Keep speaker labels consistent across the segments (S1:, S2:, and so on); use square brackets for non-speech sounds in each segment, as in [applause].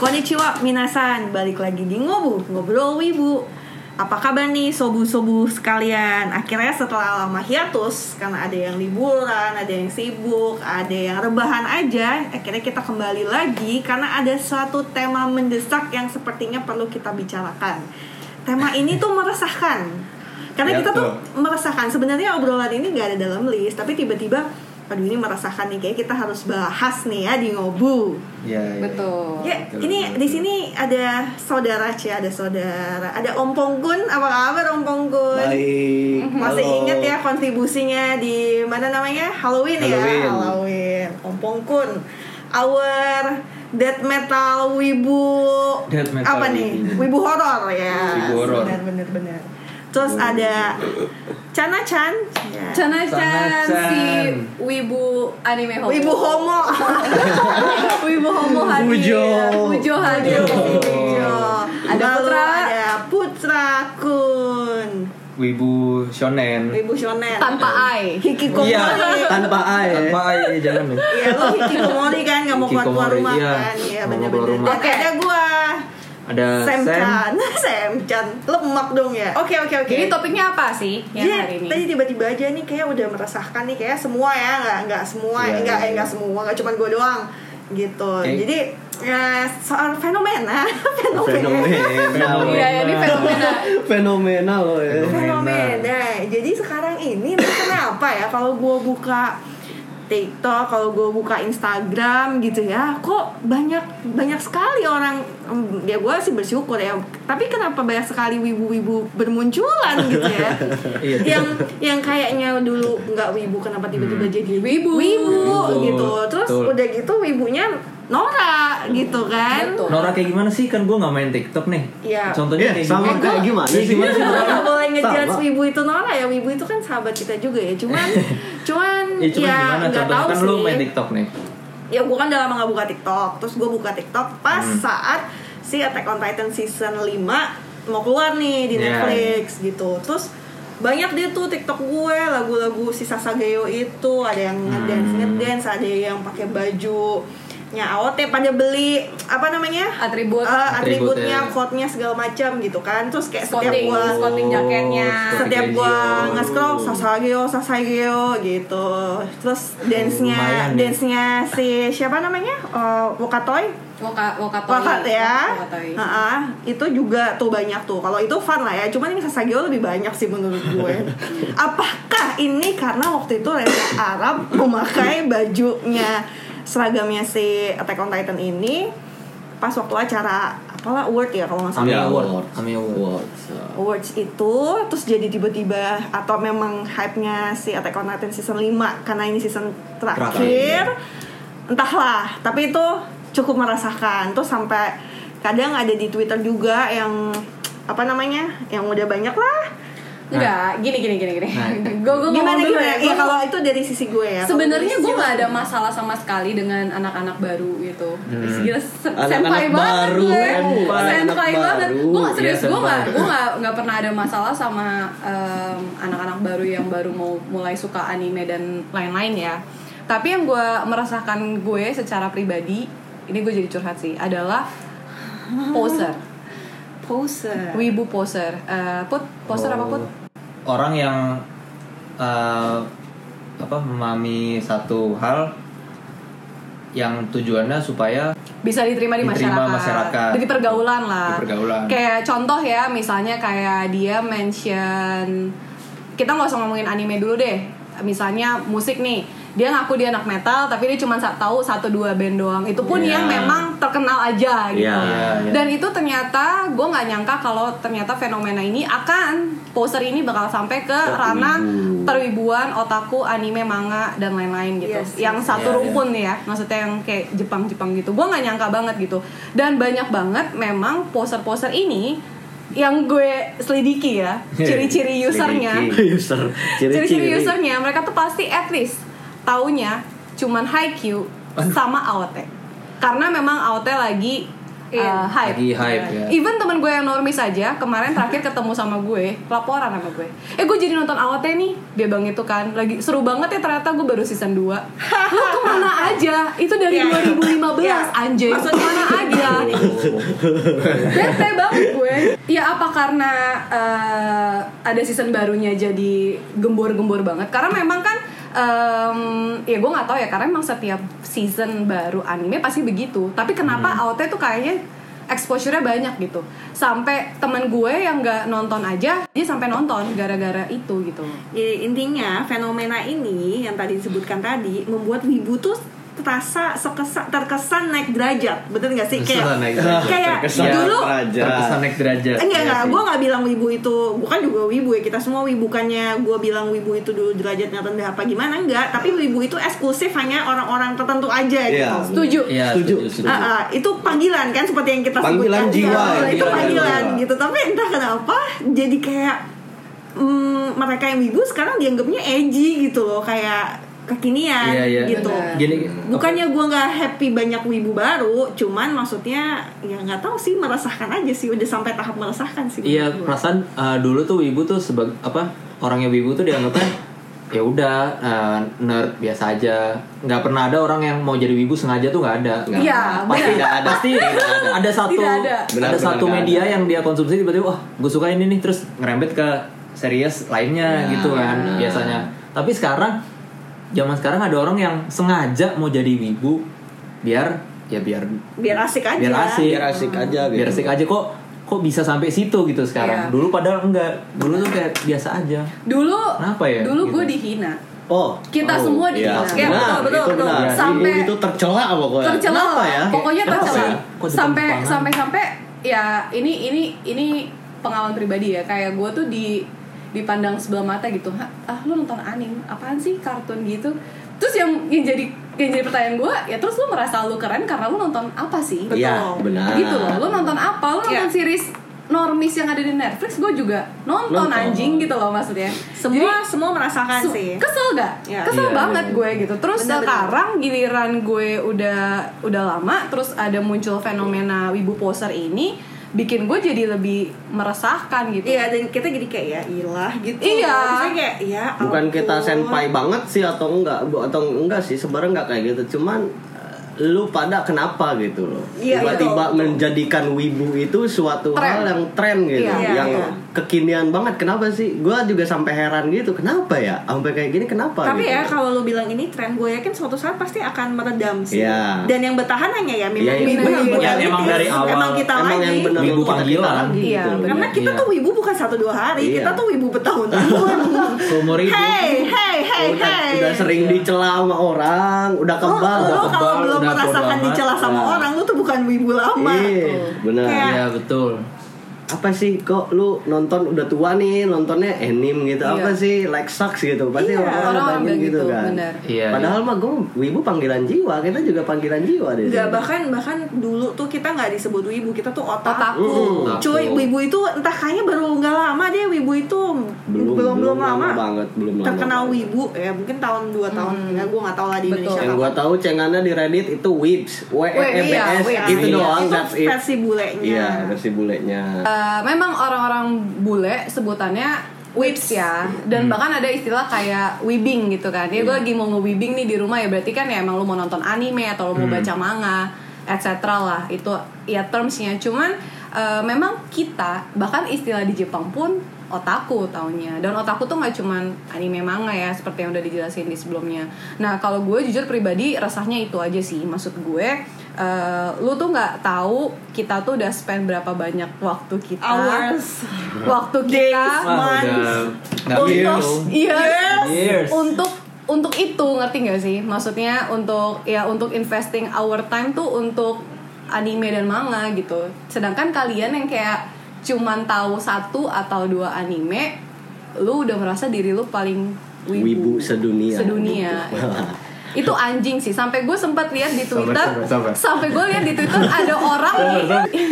S1: Konnichiwa minasan, balik lagi di Ngobu, Ngobrol Wibu Apa kabar nih sobu-sobu sekalian? Akhirnya setelah lama hiatus, karena ada yang liburan, ada yang sibuk, ada yang rebahan aja Akhirnya kita kembali lagi, karena ada suatu tema mendesak yang sepertinya perlu kita bicarakan Tema ini tuh meresahkan Karena
S2: Ya,
S1: kita tuh
S2: tuh.
S1: meresahkan, sebenarnya obrolan ini nggak ada dalam list Tapi tiba-tiba, aduh ini meresahkan nih, kayaknya kita harus bahas nih ya di Ngobu
S2: Iya, iya.
S3: Betul.
S1: Ya,
S2: Betul,
S1: ini
S2: betul,
S1: di
S2: betul.
S1: sini ada saudara Ci, ada saudara, ada Om Ponggun. Apa kabar Om Ponggun?
S2: Baik.
S1: Masih
S2: Halo.
S1: ingat ya kontribusinya di mana namanya? Halloween, ya,
S2: Halloween.
S1: Halloween. Om Pongkun. Our death metal wibu
S2: Death metal
S1: apa nih?
S2: wibu.
S1: Wibu horor ya.
S2: Wibu horor.
S1: Benar benar benar. Terus
S2: Wibu.
S1: ada Chana Chan. Ya.
S3: Chana-chan
S2: Chana-chan.
S3: si wibu anime homo.
S1: Wibu homo.
S3: [laughs] wibu homo hadir.
S2: Pujo.
S3: Pujo hadir.
S2: Pujo.
S3: Ada
S1: Lalu
S3: Putra.
S1: Ada Putra Kun.
S2: Wibu shonen.
S1: Ibu Shonen
S3: Tanpa ai.
S1: Hikikomori
S2: Iya,
S4: tanpa A ya.
S2: Apa ya jangan nih.
S1: Iya lu hikikomori kan Gak mau keluar keluar
S2: Hikikomori,
S1: rumah
S2: iya.
S1: kan Iya
S2: Nggak mau
S1: bener-bener
S2: keluar rumah. Eh,
S1: Dan ada
S3: Eh.
S1: gua
S2: Ada
S1: Sam Chan [laughs] Sam Chan Lemak dong ya Oke oke oke
S3: Jadi topiknya apa sih yang
S1: Jadi,
S3: hari ini?
S1: tadi tiba-tiba aja nih kayak udah meresahkan nih kayak semua ya nggak nggak semua
S2: Iya,
S1: nggak
S2: iya,
S1: eh, nggak
S2: iya.
S1: semua nggak cuma gue doang gitu
S2: Oke.
S1: jadi eh, soal fenomena [laughs] fenomena
S2: Fenomena.
S3: Iya, ya, ini fenomena.
S4: Fenomenal loh ya.
S1: Iya, fenomena. Jadi sekarang ini entah kenapa ya kalau gue buka TikTok, kalau gue buka Instagram gitu ya, kok banyak banyak sekali orang mm, ya gue sih bersyukur ya. Tapi kenapa banyak sekali wibu-wibu bermunculan gitu ya?
S2: Iya.
S1: yang yang kayaknya dulu nggak wibu kenapa tiba-tiba jadi
S3: Wibu.
S1: wibu
S2: Wibu.
S1: gitu. Terus
S2: Betul.
S1: udah gitu wibunya Nora gitu kan?
S3: Betul.
S2: Nora kayak gimana sih kan gue nggak main TikTok nih.
S1: Iya.
S2: Contohnya
S4: Iya,
S2: kayak
S4: sama
S2: gimana?
S4: kayak gimana
S2: Iya,
S4: sih?
S2: gimana sih?
S1: Kita nggak boleh ngejudge
S4: Sama.
S1: Wibu itu Nora ya Wibu itu kan sahabat kita juga ya
S2: [laughs]
S1: Cuman Cuman
S2: Ya, cuman
S1: ya
S2: gimana
S1: nggak
S2: contohnya
S1: tahu
S2: kan
S1: sih
S2: lu main TikTok nih.
S1: Ya gue kan udah lama gak buka TikTok Terus gue buka TikTok pas
S2: Hmm.
S1: saat Si Attack on Titan season 5 Mau keluar nih di
S2: Iya.
S1: Netflix gitu Terus banyak deh tuh TikTok gue lagu-lagu si Sasageo itu ada yang
S2: Hmm.
S1: ngedance ngedance ada yang pakai baju nya AOT pada beli apa namanya Eh,
S3: Atribut.
S2: Atributnya.
S1: atributnya coatnya segala macam gitu kan terus kayak setiap
S3: Spotting,
S1: gue
S3: spotting jaketnya.
S2: Oh,
S1: setiap
S5: Iya,
S1: gua
S2: Geo.
S1: nge-scroll sasageo sasageo gitu terus dance-nya
S2: lumayan nih.
S1: dance-nya si siapa namanya Eh, Wokatoy
S3: Woka, wokatoi.
S1: Wokat ya
S3: Wokatoi.
S1: Heeh, itu juga tuh banyak tuh kalau itu fun lah ya cuman ini sasageo lebih banyak sih menurut gue apakah ini karena waktu itu Reza Arab memakai bajunya seragamnya si Attack on Titan ini pas waktu acara apalah award ya kalau nggak salah
S2: Ami
S4: Iya.
S2: Award. Ami Award.
S1: awards itu terus jadi tiba-tiba atau memang hype-nya si Attack on Titan season 5 karena ini season terakhir,
S2: Terakhir.
S1: entahlah tapi itu cukup merasakan terus sampai kadang ada di Twitter juga yang apa namanya yang udah banyak lah
S3: Enggak, gini gini gini gini.
S2: Nah.
S3: Gue gue
S1: gimana
S3: dulu
S1: gimana
S3: ya.
S1: ya
S3: Gua-
S1: kalau itu dari sisi gue ya kalau
S3: Sebenarnya
S1: dari
S3: gue
S1: sisi
S3: nggak ada masalah sama sekali dengan anak-anak baru gitu. Gila, se-
S4: Hmm. Anak-anak
S3: senpai banget
S4: baru,
S3: gue.
S4: senpai,
S3: senpai
S4: anak
S3: banget.
S4: baru.
S3: Gue nggak serius,
S2: Iya,
S3: gue nggak,
S2: senpai.
S3: gue nggak nggak pernah ada masalah sama em, anak-anak baru yang baru mau mulai suka anime dan lain-lain ya. Tapi yang gue merasakan gue secara pribadi, ini gue jadi curhat sih, adalah poser,
S1: poser
S3: wibu poser, Eh, put poser apa put?
S2: Oh. Orang yang eh, apa memahami satu hal yang tujuannya supaya
S3: bisa diterima di
S2: Diterima
S3: masyarakat.
S2: masyarakat.
S3: Di pergaulan lah.
S2: Di pergaulan.
S3: Kayak contoh ya, misalnya kayak dia mention kita nggak usah ngomongin anime dulu deh. Misalnya musik nih, dia ngaku dia anak metal tapi dia cuma sa- tahu satu dua band doang. Itu pun
S4: Iya.
S3: yang memang terkenal aja gitu.
S4: Iya.
S2: Iya, iya.
S3: Dan itu ternyata gue nggak nyangka kalau ternyata fenomena ini akan poser ini bakal sampai ke
S4: Ke
S3: ranah
S4: wibu.
S3: perwibuan, otaku, anime, manga dan lain-lain gitu.
S1: Yes,
S3: yang
S1: yes,
S2: iya,
S3: satu
S2: iya.
S3: rumpun ya maksudnya yang kayak Jepang-Jepang gitu gue nggak nyangka banget gitu dan banyak banget memang poster-poster ini yang gue selidiki
S2: [laughs]
S3: ya ciri-ciri usernya
S2: Selidiki.
S4: User.
S3: ciri-ciri usernya mereka tuh pasti at least taunya cuman high sama AOT karena memang AOT lagi
S1: In.
S3: uh, hype.
S2: Lagi hype, ya.
S3: Even temen gue yang normis aja kemarin terakhir
S2: [laughs]
S3: ketemu sama gue, laporan sama gue. Eh gue jadi nonton AOT nih, dia bang itu kan lagi seru banget ya ternyata gue baru season 2 Lu kemana aja? Itu dari
S1: Iya.
S3: 2015
S1: Iya.
S3: anjay.
S1: Maksudnya-
S3: kemana aja? Bete banget gue. Ya apa karena eh, ada season barunya jadi gembor-gembor banget. Karena memang kan em, ya gue nggak tahu ya karena memang setiap season baru anime pasti begitu. Tapi kenapa AOT tuh kayaknya exposure-nya banyak gitu. Sampai teman gue yang nggak nonton aja dia sampai nonton gara-gara itu gitu.
S1: Jadi intinya fenomena ini yang tadi disebutkan tadi membuat wibu tuh terasa sekesa- terkesan naik derajat, bener nggak sih?
S4: Terkesan
S1: Kayak
S4: naik derajat,
S1: kayak
S4: terkesan
S1: dulu
S4: naik derajat.
S2: terkesan naik derajat.
S1: enggak
S2: Iya
S1: enggak,
S2: sih.
S1: gue nggak bilang wibu itu, bukan juga wibu ya kita semua wibu bukannya gue bilang wibu itu dulu derajatnya rendah apa gimana enggak, tapi wibu itu eksklusif hanya orang-orang tertentu aja
S4: Iya.
S1: gitu.
S3: Setuju.
S2: Iya,
S4: Setuju.
S2: setuju, setuju.
S1: Ah, ah, itu panggilan kan seperti yang kita
S4: Panggilan
S1: sebutkan
S4: jiwa,
S1: Iya, itu
S2: panggilan
S1: panggilan
S4: jiwa.
S1: gitu tapi entah kenapa jadi kayak mm, mereka yang wibu sekarang dianggapnya edgy gitu loh kayak kekinian
S2: Iya, iya.
S1: gitu
S3: Benar.
S2: Gini,
S1: bukannya gua nggak happy banyak wibu baru cuman maksudnya ya nggak tahu sih meresahkan aja sih udah sampai tahap meresahkan sih
S5: Iya,
S1: menurut gua.
S5: perasaan uh, dulu tuh wibu tuh sebagai apa? Orangnya wibu tuh dianggapnya ya udah uh, nerd biasa aja. nggak pernah ada orang yang mau jadi wibu sengaja tuh nggak ada.
S4: Nggak.
S3: Iya,
S5: Pasti
S3: benar.
S5: tidak ada. Pasti ada satu
S3: Tidak ada.
S5: ada,
S4: Benar, benar,
S5: satu
S4: nggak
S5: media
S4: ada.
S5: yang dia konsumsi tiba-tiba wah gue suka ini nih terus ngerembet ke serius lainnya gitu kan biasanya. Tapi sekarang zaman sekarang ada orang yang sengaja mau jadi wibu biar ya biar
S1: biar asik aja
S5: biar asik
S4: biar asik aja gitu.
S5: biar asik aja kok kok bisa sampai situ gitu sekarang
S3: Iya.
S5: dulu padahal enggak dulu tuh kayak biasa aja
S3: Dulu
S5: Kenapa ya?
S3: Dulu gue
S5: Gitu.
S3: dihina.
S4: Oh,
S3: Kita
S5: Oh,
S3: semua
S4: iya.
S3: dihina.
S1: Iya,
S4: benar,
S1: betul,
S4: itu
S1: betul, betul.
S4: benar.
S3: Sampai-
S4: Ibu itu tercela pokoknya.
S3: tercela
S4: Kenapa
S3: lah.
S4: ya?
S3: pokoknya
S5: Kenapa
S3: tercela
S5: ya? Kok jadi
S3: sampai
S5: tantangan?
S3: sampai sampai ya ini ini ini pengalaman pribadi ya kayak gue tuh di dipandang sebelah mata gitu "Hah, ah lu nonton anime apaan sih kartun gitu terus yang yang jadi yang jadi pertanyaan gue ya terus lu merasa lu keren karena lu nonton apa sih
S1: Betul.
S4: Iya, benar.
S3: gitu loh lu nonton apa lu
S1: Iya.
S3: nonton series normis yang ada di Netflix gue juga nonton,
S4: Nonton.
S3: anjing gitu loh maksudnya Jadi-
S1: semua semua merasakan
S3: Su-
S1: sih
S3: Kesel gak?
S1: Ya.
S3: Kesel
S2: Iya,
S3: banget
S2: iya.
S3: gue gitu. Terus
S1: Benar-benar.
S3: sekarang giliran gue udah udah lama terus ada muncul fenomena wibu poser ini bikin gue jadi lebih meresahkan gitu.
S1: Iya dan kita jadi kayak ya ilah gitu.
S3: Iya.
S1: Maksudnya kayak ya
S4: Bukan
S1: ampun.
S4: kita senpai banget sih atau enggak Bu- atau enggak sih sebenarnya enggak kayak gitu. Cuman eh, lu pada kenapa gitu loh.
S1: Iya,
S4: Tiba-tiba
S1: betul.
S4: menjadikan wibu itu suatu
S3: Tren.
S4: hal yang tren gitu,
S3: Iya,
S1: iya,
S4: yang
S1: iya.
S4: kekinian banget. Kenapa sih? Gua juga sampai heran gitu. Kenapa ya? Sampai kayak gini kenapa
S1: Tapi
S4: gitu.
S1: ya kalau lu bilang ini tren, gue yakin suatu saat pasti akan meredam sih.
S4: Iya.
S1: Dan yang bertahan hanya ya memang
S4: Iya, iya.
S1: wibu yang
S3: Iya,
S1: bukan
S2: emang
S1: itu.
S2: dari awal.
S1: Emang kita
S4: Emang
S1: lagi.
S4: yang benar
S5: Wibu
S4: kita- kita
S5: panggilan.
S4: lagi
S3: Iya,
S4: gitu loh.
S1: Karena kita
S5: Iya.
S1: tuh wibu bukan satu dua hari,
S4: Iya.
S1: kita tuh wibu
S4: [laughs]
S1: bertahun-tahun.
S2: Seumur hidup.
S1: Hey, hey, hey,
S4: udah,
S1: hey. Oh,
S4: udah sering dicela sama orang, udah
S1: Lu,
S4: kebal.
S1: lu
S2: udah
S1: kalau
S2: kebal,
S1: belum
S2: udah
S1: merasakan
S2: bodo amat.
S1: dicela sama
S2: Nah.
S1: orang, lu tuh bukan wibu lama.
S4: Iya, benar.
S1: oh, Kayak-
S2: Iya, betul.
S4: Apa sih kok lu nonton udah tua nih, nontonnya anime gitu.
S3: Iya.
S4: Apa sih like sucks gitu. Pasti
S1: Iya,
S3: orang-orang
S4: orang-orang bilang
S3: bilang
S4: gitu,
S3: gitu,
S4: kan.
S3: benar.
S2: Iya,
S4: Padahal mah gue wibu panggilan jiwa, kita juga panggilan jiwa deh.
S1: Enggak, bahkan bahkan dulu tuh kita nggak disebut wibu, kita tuh otak.
S3: Otaku.
S2: Mm,
S1: Cuy,
S2: otaku.
S1: wibu itu entah kayaknya baru nggak lama deh wibu itu
S4: Belum-
S1: belum,
S4: belum
S1: lama.
S4: lama banget, belum lama
S1: Terkenal
S4: banget.
S1: wibu ya mungkin tahun 2 tahun ya gue nggak tahu lah di
S3: Hmm. Betul.
S1: Indonesia.
S4: Yang gue tahu cengannya di Reddit itu Weebs, W E E B
S3: iya,
S4: S,
S3: Weebs.
S4: itu
S1: Iya,
S4: doang.
S1: itu
S4: that's it.
S1: versi bulenya.
S4: Iya, versi bulenya.
S3: Uh, memang orang-orang bule sebutannya whips ya dan bahkan ada istilah kayak webbing gitu kan ya gue lagi mau nge-webbing nih di rumah ya berarti kan ya emang lu mau nonton anime atau lu mau baca manga etc lah itu ya termsnya cuman uh, memang kita bahkan istilah di Jepang pun otaku taunya dan otaku tuh nggak cuman anime manga ya seperti yang udah dijelasin di sebelumnya nah kalau gue jujur pribadi resahnya itu aja sih maksud gue Eh, lu tuh nggak tahu kita tuh udah spend berapa banyak waktu kita
S1: Hours,
S3: waktu
S1: days,
S3: kita
S2: Wah,
S1: months.
S2: udah nggak gitu.
S1: Untuk-
S3: iya
S2: Years.
S3: untuk untuk itu ngerti nggak sih maksudnya untuk ya untuk investing our time tuh untuk anime dan manga gitu sedangkan kalian yang kayak cuman tahu satu atau dua anime lu udah merasa diri lu paling
S4: Wibu sedunia.
S3: sedunia
S2: [laughs]
S3: itu anjing sih sampai gue sempat lihat di
S2: Sabar,
S3: twitter
S2: sabar, sabar.
S3: sampai gue lihat di twitter ada orang nih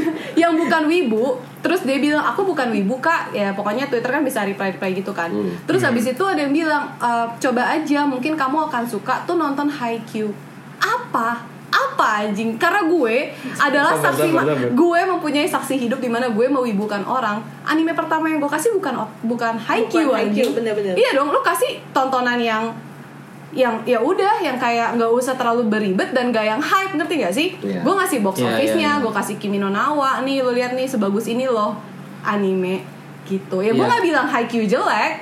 S3: [laughs] yang bukan wibu terus dia bilang aku bukan wibu kak ya pokoknya twitter kan bisa reply reply gitu kan
S5: Hmm.
S3: terus habis itu ada yang bilang "E, coba aja mungkin kamu akan suka tuh nonton haikyuu apa apa apa anjing? Karena gue adalah
S5: Sabar,
S3: saksi
S5: sabar,
S3: ma-
S5: sabar.
S3: gue mempunyai saksi hidup di mana gue mewibukan orang. Anime pertama yang gue kasih bukan op- bukan Haikyuu
S1: Bukan Haikyuu,
S3: anjing.
S1: bener-bener.
S3: Iya dong, lu kasih tontonan yang yang ya udah yang kayak nggak usah terlalu beribet dan gak yang hype ngerti gak sih?
S4: Iya.
S3: Gue ngasih box
S5: Iya,
S3: office-nya,
S5: iya.
S3: gue kasih Kimi no Nawa nih lu lihat nih sebagus ini loh anime gitu. Ya gue
S5: Iya.
S3: nggak bilang Haikyuu jelek.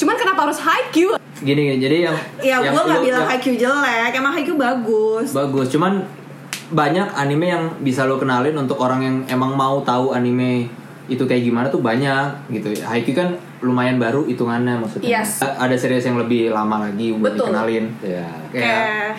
S3: Cuman kenapa harus Haikyuu?
S5: Gini, gini, jadi yang
S1: Ya
S5: yang
S1: gue gak
S5: lu-
S1: bilang gitu.
S5: yang-
S1: IQ jelek, emang IQ bagus
S5: bagus cuman banyak anime yang bisa lo kenalin untuk orang yang emang mau tahu anime itu kayak gimana tuh banyak gitu Haikyuu kan lumayan baru hitungannya maksudnya
S3: Yes.
S5: A- ada series yang lebih lama lagi buat
S3: Betul.
S5: dikenalin
S4: Ya.
S5: kayak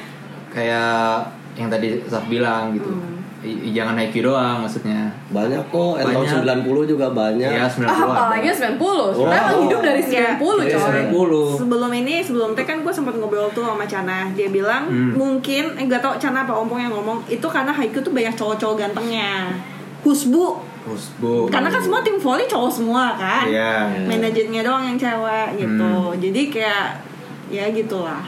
S5: kayak yang tadi Saf bilang gitu
S3: Hmm.
S5: I- jangan Haikyuu doang maksudnya
S4: Banyak kok, eh, tahun
S5: Banyak.
S4: 90 juga banyak.
S2: Iya.
S5: ya, 90
S3: Ah, apalagi 90 Sebenarnya
S4: Oh.
S3: emang hidup dari 90
S5: Iya,
S3: coy
S5: 90
S1: Sebelum ini, sebelum teh kan gue sempat ngobrol tuh sama Cana Dia bilang,
S5: Hmm.
S1: mungkin, eh, gak tau Cana apa Ompong yang ngomong Itu karena Haikyuu tuh banyak cowok-cowok gantengnya Husbu,
S5: Husbu
S1: karena kan semua tim volley cowok semua kan
S5: Oh. Iya.
S1: Manajernya doang yang cewek gitu
S5: Hmm.
S1: Jadi kayak, ya gitulah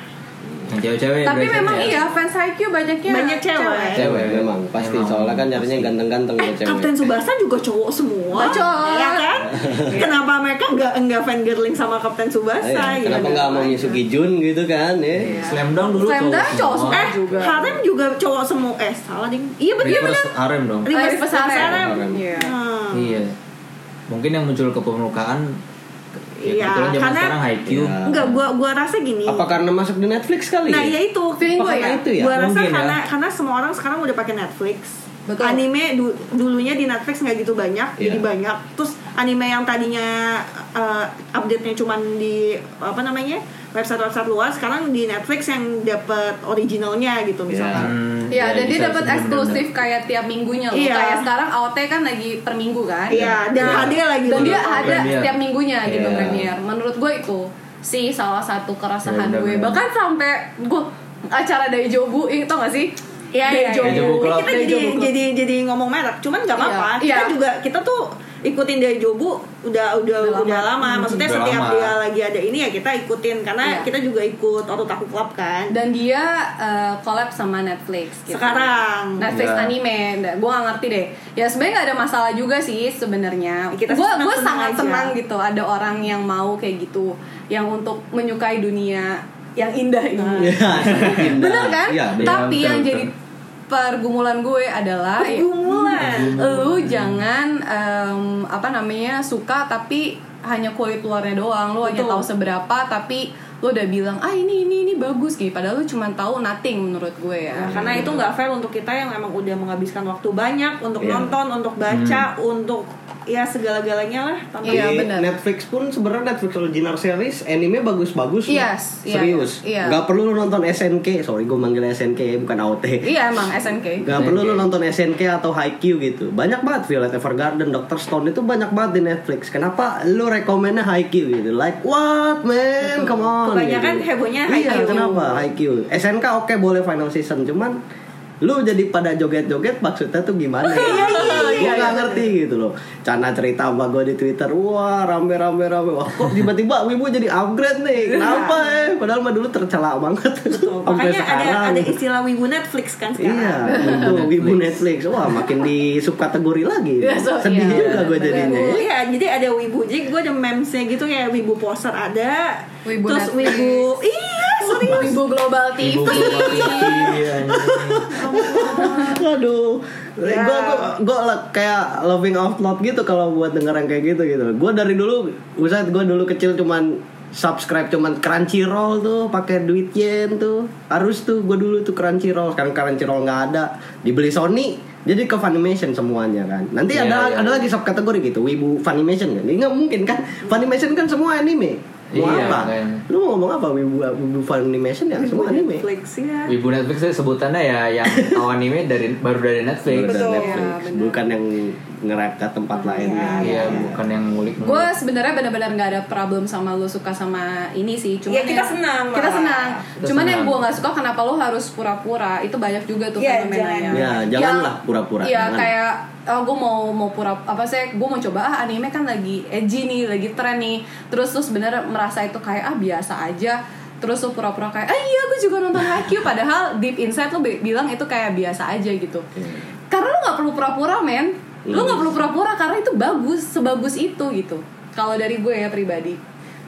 S5: yang cewek-cewek
S3: Tapi
S5: biasanya
S3: memang
S5: ya.
S3: iya fans IQ banyaknya
S1: Banyak cewek.
S4: Cewek memang pasti
S5: Memang.
S4: soalnya kan nyarinya ganteng-ganteng ya
S1: Eh,
S4: cewek.
S1: Kapten Subasa juga cowok semua.
S3: Bacot.
S1: Iya kan? Kenapa mereka nggak nggak fangirling sama Kapten
S4: Eh,
S1: Subasa? Ya,
S4: kenapa
S1: dan
S4: nggak mau
S1: lain-lain.
S4: Misuki Jun gitu kan ya?
S5: Slam Dunk dulu
S3: Slam Dunk cowok
S5: semua.
S3: semua.
S1: Eh,
S3: Juga.
S1: Harem juga cowok semua. Eh, salah ding. Iya benar iya
S5: Reverse
S1: benar.
S5: harem dong
S1: Reverse
S3: Reverse harem.
S1: harem.
S4: Harem.
S3: Iya.
S1: Hmm.
S5: Iya. Mungkin yang muncul ke permukaan
S1: Iya,
S5: ya kebetulan zaman
S1: karena-
S5: sekarang Haikyuu.
S4: Iya.
S1: Nggak, gua gua rasa gini.
S3: Iya.
S4: Apa karena masuk di Netflix kali?
S1: Nah, ya itu.
S3: Feeling gua
S4: Karena
S3: ya.
S4: itu ya?
S1: Gua rasa
S5: Mungkin ya.
S1: karena karena semua orang sekarang udah pakai Netflix.
S3: Betul.
S1: Anime du- dulunya di Netflix nggak gitu banyak,
S4: Iya.
S1: jadi banyak. Terus anime yang tadinya uh, update-nya cuman di apa namanya? website-website luar sekarang di Netflix yang dapat originalnya gitu misalnya.
S5: Hmm,
S3: Iya, dan dia
S5: bisa
S3: dapat
S5: sih,
S3: eksklusif kayak tiap minggunya loh.
S1: Iya.
S3: Kayak sekarang AOT kan lagi per minggu kan.
S1: Iya, dan
S5: Iya.
S1: HD lagi Oh,
S3: Dan
S1: loh.
S3: dia ada
S5: Oh, Premier.
S3: setiap minggunya gitu
S4: Iya.
S3: premier. Menurut gue itu sih salah satu keresahan
S5: Iya,
S3: gue.
S5: benar-benar.
S3: Bahkan sampai gue acara dari Jobu, itu gak sih?
S1: Iya, iya,
S3: Daijobu.
S5: Daijobu Club.
S1: kita jadi jadi jadi ngomong merek, cuman nggak apa-apa.
S3: Iya.
S1: Kita
S3: Iya.
S1: juga kita tuh ikutin dari Jobu udah udah
S3: Udah lama.
S1: udah lama. Maksudnya
S5: Udah
S1: setiap
S5: lama.
S1: dia lagi ada ini ya kita ikutin karena
S3: Iya.
S1: kita juga ikut Ototaku Club kan.
S3: dan dia eh, collab sama Netflix gitu.
S1: Sekarang.
S3: Netflix
S5: Iya.
S3: anime gue gak ngerti deh ya sebenarnya gak ada masalah juga sih sebenarnya
S1: Kita
S3: gue
S1: senang-senang
S3: gue sangat
S1: aja.
S3: senang gitu ada orang yang mau kayak gitu yang untuk menyukai dunia yang indah
S1: Hmm.
S3: ini
S4: [laughs] Iya,
S3: bener kan
S4: Iya, bener.
S3: tapi
S5: betul,
S3: yang
S5: betul.
S3: jadi pergumulan gue adalah ya,
S1: Pergumulan.
S3: lu jangan em, apa namanya suka tapi hanya kulit luarnya doang lu hanya
S1: Betul.
S3: tahu seberapa tapi lu udah bilang ah ini ini ini bagus gitu padahal lu cuma tahu nothing menurut gue ya
S1: Nah, karena itu nggak fair untuk kita yang emang udah menghabiskan waktu banyak untuk
S4: Iya.
S1: nonton, untuk baca, untuk ya segala-galanya lah. tanpa-
S3: Iya,
S4: Di
S3: benar.
S4: Netflix pun sebenarnya Netflix original series anime bagus-bagus loh.
S3: Yes, iya,
S4: serius.
S3: iya.
S4: Gak perlu lu nonton SNK, sorry gue manggil SNK bukan AOT.
S3: Iya emang SNK.
S4: Gak perlu lu nonton SNK atau Haikyuu gitu. Banyak banget Violet Evergarden, Dr. Stone itu banyak banget di Netflix. Kenapa lu rekomennya Haikyuu gitu? Like what man? Come on.
S1: Kebanyakan
S4: gitu.
S1: hebohnya
S4: Iya,
S1: Haikyuu.
S4: kenapa Haikyuu? SNK oke boleh final season, cuman lu jadi pada joget-joget maksudnya tuh gimana?
S1: [laughs] Iya,
S4: gue gak ngerti gitu loh. Cana cerita sama gue di Twitter, wah rame rame rame. Wah kok tiba-tiba Wibu jadi upgrade nih? Kenapa eh? Padahal mah dulu tercela banget.
S1: Iya. Betul.
S4: Sampai
S1: Makanya ada
S4: sekarang.
S1: ada istilah Wibu Netflix kan
S4: Iya,
S1: sekarang.
S4: itu Wibu Netflix. Wah, makin di subkategori lagi.
S3: Iya, so-
S4: Sedih
S3: iya,
S4: juga gue
S3: bener.
S4: jadinya. ya.
S1: Wibu, iya jadi ada wibu jadi gue ada memesnya gitu kayak wibu poster ada
S3: Wibu
S1: terus
S3: Netflix.
S1: wibu iya serius
S3: Ibu Global TV.
S5: Ibu Global TV, anjing.
S4: Aduh, gue
S1: Ya.
S4: kayak loving out loud gitu kalau buat dengeran kayak gitu gitu. Gue dari dulu, Ustaz gue dulu kecil cuman subscribe cuman Crunchyroll tuh pakai duit yen tuh harus tuh gue dulu tuh Crunchyroll sekarang Crunchyroll nggak ada dibeli Sony jadi ke Funimation semuanya kan nanti
S5: Iya,
S4: ada
S5: iya.
S4: ada lagi subkategori gitu Wibu Funimation kan ini nggak mungkin kan Funimation kan semua anime mau
S5: Iya,
S4: apa
S5: makanya.
S4: lu mau ngomong apa Wibu Wibu Funimation ya semua anime
S1: Netflix ya
S5: Ibu Netflix saya sebutannya ya yang tahu anime dari baru dari Netflix.
S4: Betul.
S1: Betul.
S4: Netflix,
S3: Ya, benar.
S4: bukan yang ngerak ke tempat lain
S1: Iya.
S4: kan.
S5: Iya, bukan yang ngulik.
S3: Gue sebenarnya benar-benar nggak ada problem sama lo suka sama ini sih. Cuman
S1: Ya, kita
S3: yang-
S1: senang
S3: Kita
S1: malah.
S3: senang.
S5: Kita
S3: Cuman
S5: senang.
S3: yang gue nggak suka kenapa lo harus pura-pura itu banyak juga tuh
S1: Iya,
S3: fenomenanya.
S1: jangan.
S4: Ya,
S3: Yang-
S4: janganlah pura-pura,
S3: Iya
S4: jangan.
S3: kayak oh gue mau mau pura apa sih gue mau coba ah anime kan lagi edgy nih lagi tren nih terus terus bener merasa itu kayak ah biasa aja terus lo pura-pura kayak ah iya gue juga nonton
S4: [laughs]
S3: IQ padahal deep inside lo bi- bilang itu kayak biasa aja gitu
S4: Iya.
S3: karena lo nggak perlu pura-pura men lo nggak perlu pura-pura karena itu bagus sebagus itu gitu kalau dari gue ya pribadi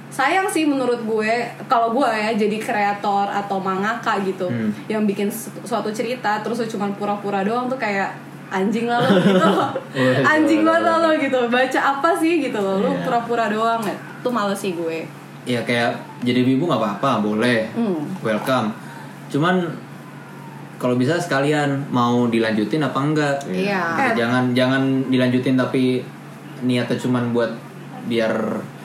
S3: sayang sih menurut gue kalau gue ya jadi kreator atau mangaka gitu
S4: Hmm.
S3: yang bikin su- suatu cerita terus lo cuman pura-pura doang tuh kayak anjing lah lo
S4: [laughs]
S3: gitu loh. [laughs] anjing banget lah lo gitu baca apa sih gitu loh lo
S5: Iya.
S3: pura-pura doang tuh males sih gue
S5: ya kayak jadi ibu nggak apa-apa boleh
S3: Hmm.
S5: welcome cuman kalau bisa sekalian mau dilanjutin apa enggak
S3: Iya.
S5: Gitu, jangan jangan dilanjutin tapi niatnya cuman buat biar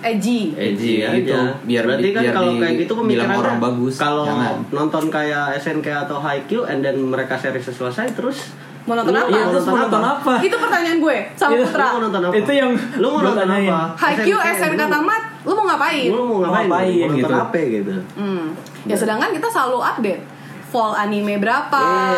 S3: edgy
S5: edgy
S4: Iya,
S5: gitu
S4: iya.
S5: biar
S4: berarti
S5: di-
S4: kan
S5: biar
S4: kalau
S5: di-
S4: kayak gitu
S5: bilang
S4: pemikirannya
S5: orang bagus
S4: kalau
S5: jangan.
S4: nonton kayak SNK atau Haikyuu and then mereka series selesai terus
S3: Mau nonton
S4: lu-
S3: apa?
S4: iya,
S5: Iya, terus
S4: nonton
S5: mau nonton
S4: apa?
S5: apa?
S3: Itu pertanyaan gue sama
S5: Iya,
S3: Putra.
S4: Lu mau nonton apa?
S5: Itu yang
S4: lu mau
S5: gua
S4: nonton
S5: tanyain.
S4: apa?
S3: Haikyuu SNK
S4: lu-
S3: tamat, lu mau ngapain?
S4: Lu mau ngapain?
S5: Ngapain
S4: Mau nonton
S5: gitu.
S4: apa gitu?
S3: Hmm. Ya sedangkan kita selalu update fall anime berapa,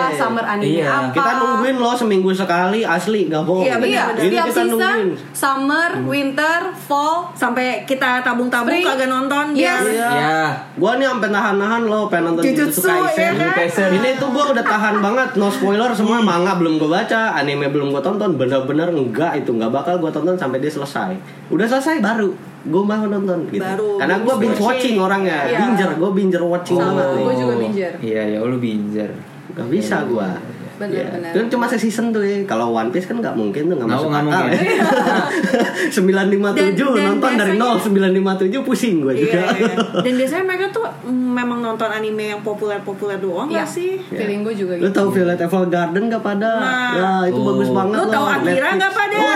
S4: Iya.
S3: summer anime
S5: Iya.
S3: apa.
S4: Kita nungguin lo seminggu sekali asli gak bohong.
S1: Ah. Iya, bener,
S3: Iya,
S1: bener.
S4: Ini
S3: setiap
S4: kita
S3: season
S4: nungguin. Hmm. Iya.
S3: summer, winter, fall.
S1: sampai kita tabung-tabung
S3: Spring.
S1: kagak nonton biar
S3: Yes.
S5: ya
S4: Gua nih sampai nahan-nahan lo pengen nonton
S1: Jujutsu,
S3: iya
S1: ya kan?
S5: Kaisen.
S4: Ini tuh gua udah tahan banget, no spoiler semua manga belum gua baca, anime belum gua tonton, bener-bener enggak itu nggak bakal gua tonton sampai dia selesai. Udah selesai baru gua mau nonton gitu.
S1: Baru.
S4: Karena gua binge watching orangnya,
S3: Iya.
S4: binger, gua binger watching
S3: Sama,
S4: banget.
S3: gua juga binjar.
S5: iya ya lu binjar
S4: Gak bisa gua.
S3: Bener,
S4: Iya.
S3: bener.
S4: Kan cuma season tuh ya. Kalau One Piece kan nggak mungkin tuh nggak
S5: Nggak-
S4: masuk
S5: nggak
S4: akal.
S5: mungkin.
S4: ya. [laughs] 957
S1: Dan- dan
S4: nonton dari
S1: biasanya- Iya,
S4: nol 957 pusing gua
S3: Iya,
S4: juga.
S1: dan biasanya mereka tuh mm, memang nonton anime yang populer-populer doang
S3: Iya.
S1: nggak sih
S3: Feeling gue juga
S4: Lu
S3: gitu.
S4: tahu Violet Evergarden gak pada?
S1: Nah.
S4: Nah, itu
S5: Oh.
S4: bagus banget.
S1: lu
S4: loh.
S1: tahu Akira
S4: Netflix.
S1: nggak pada
S4: Oh,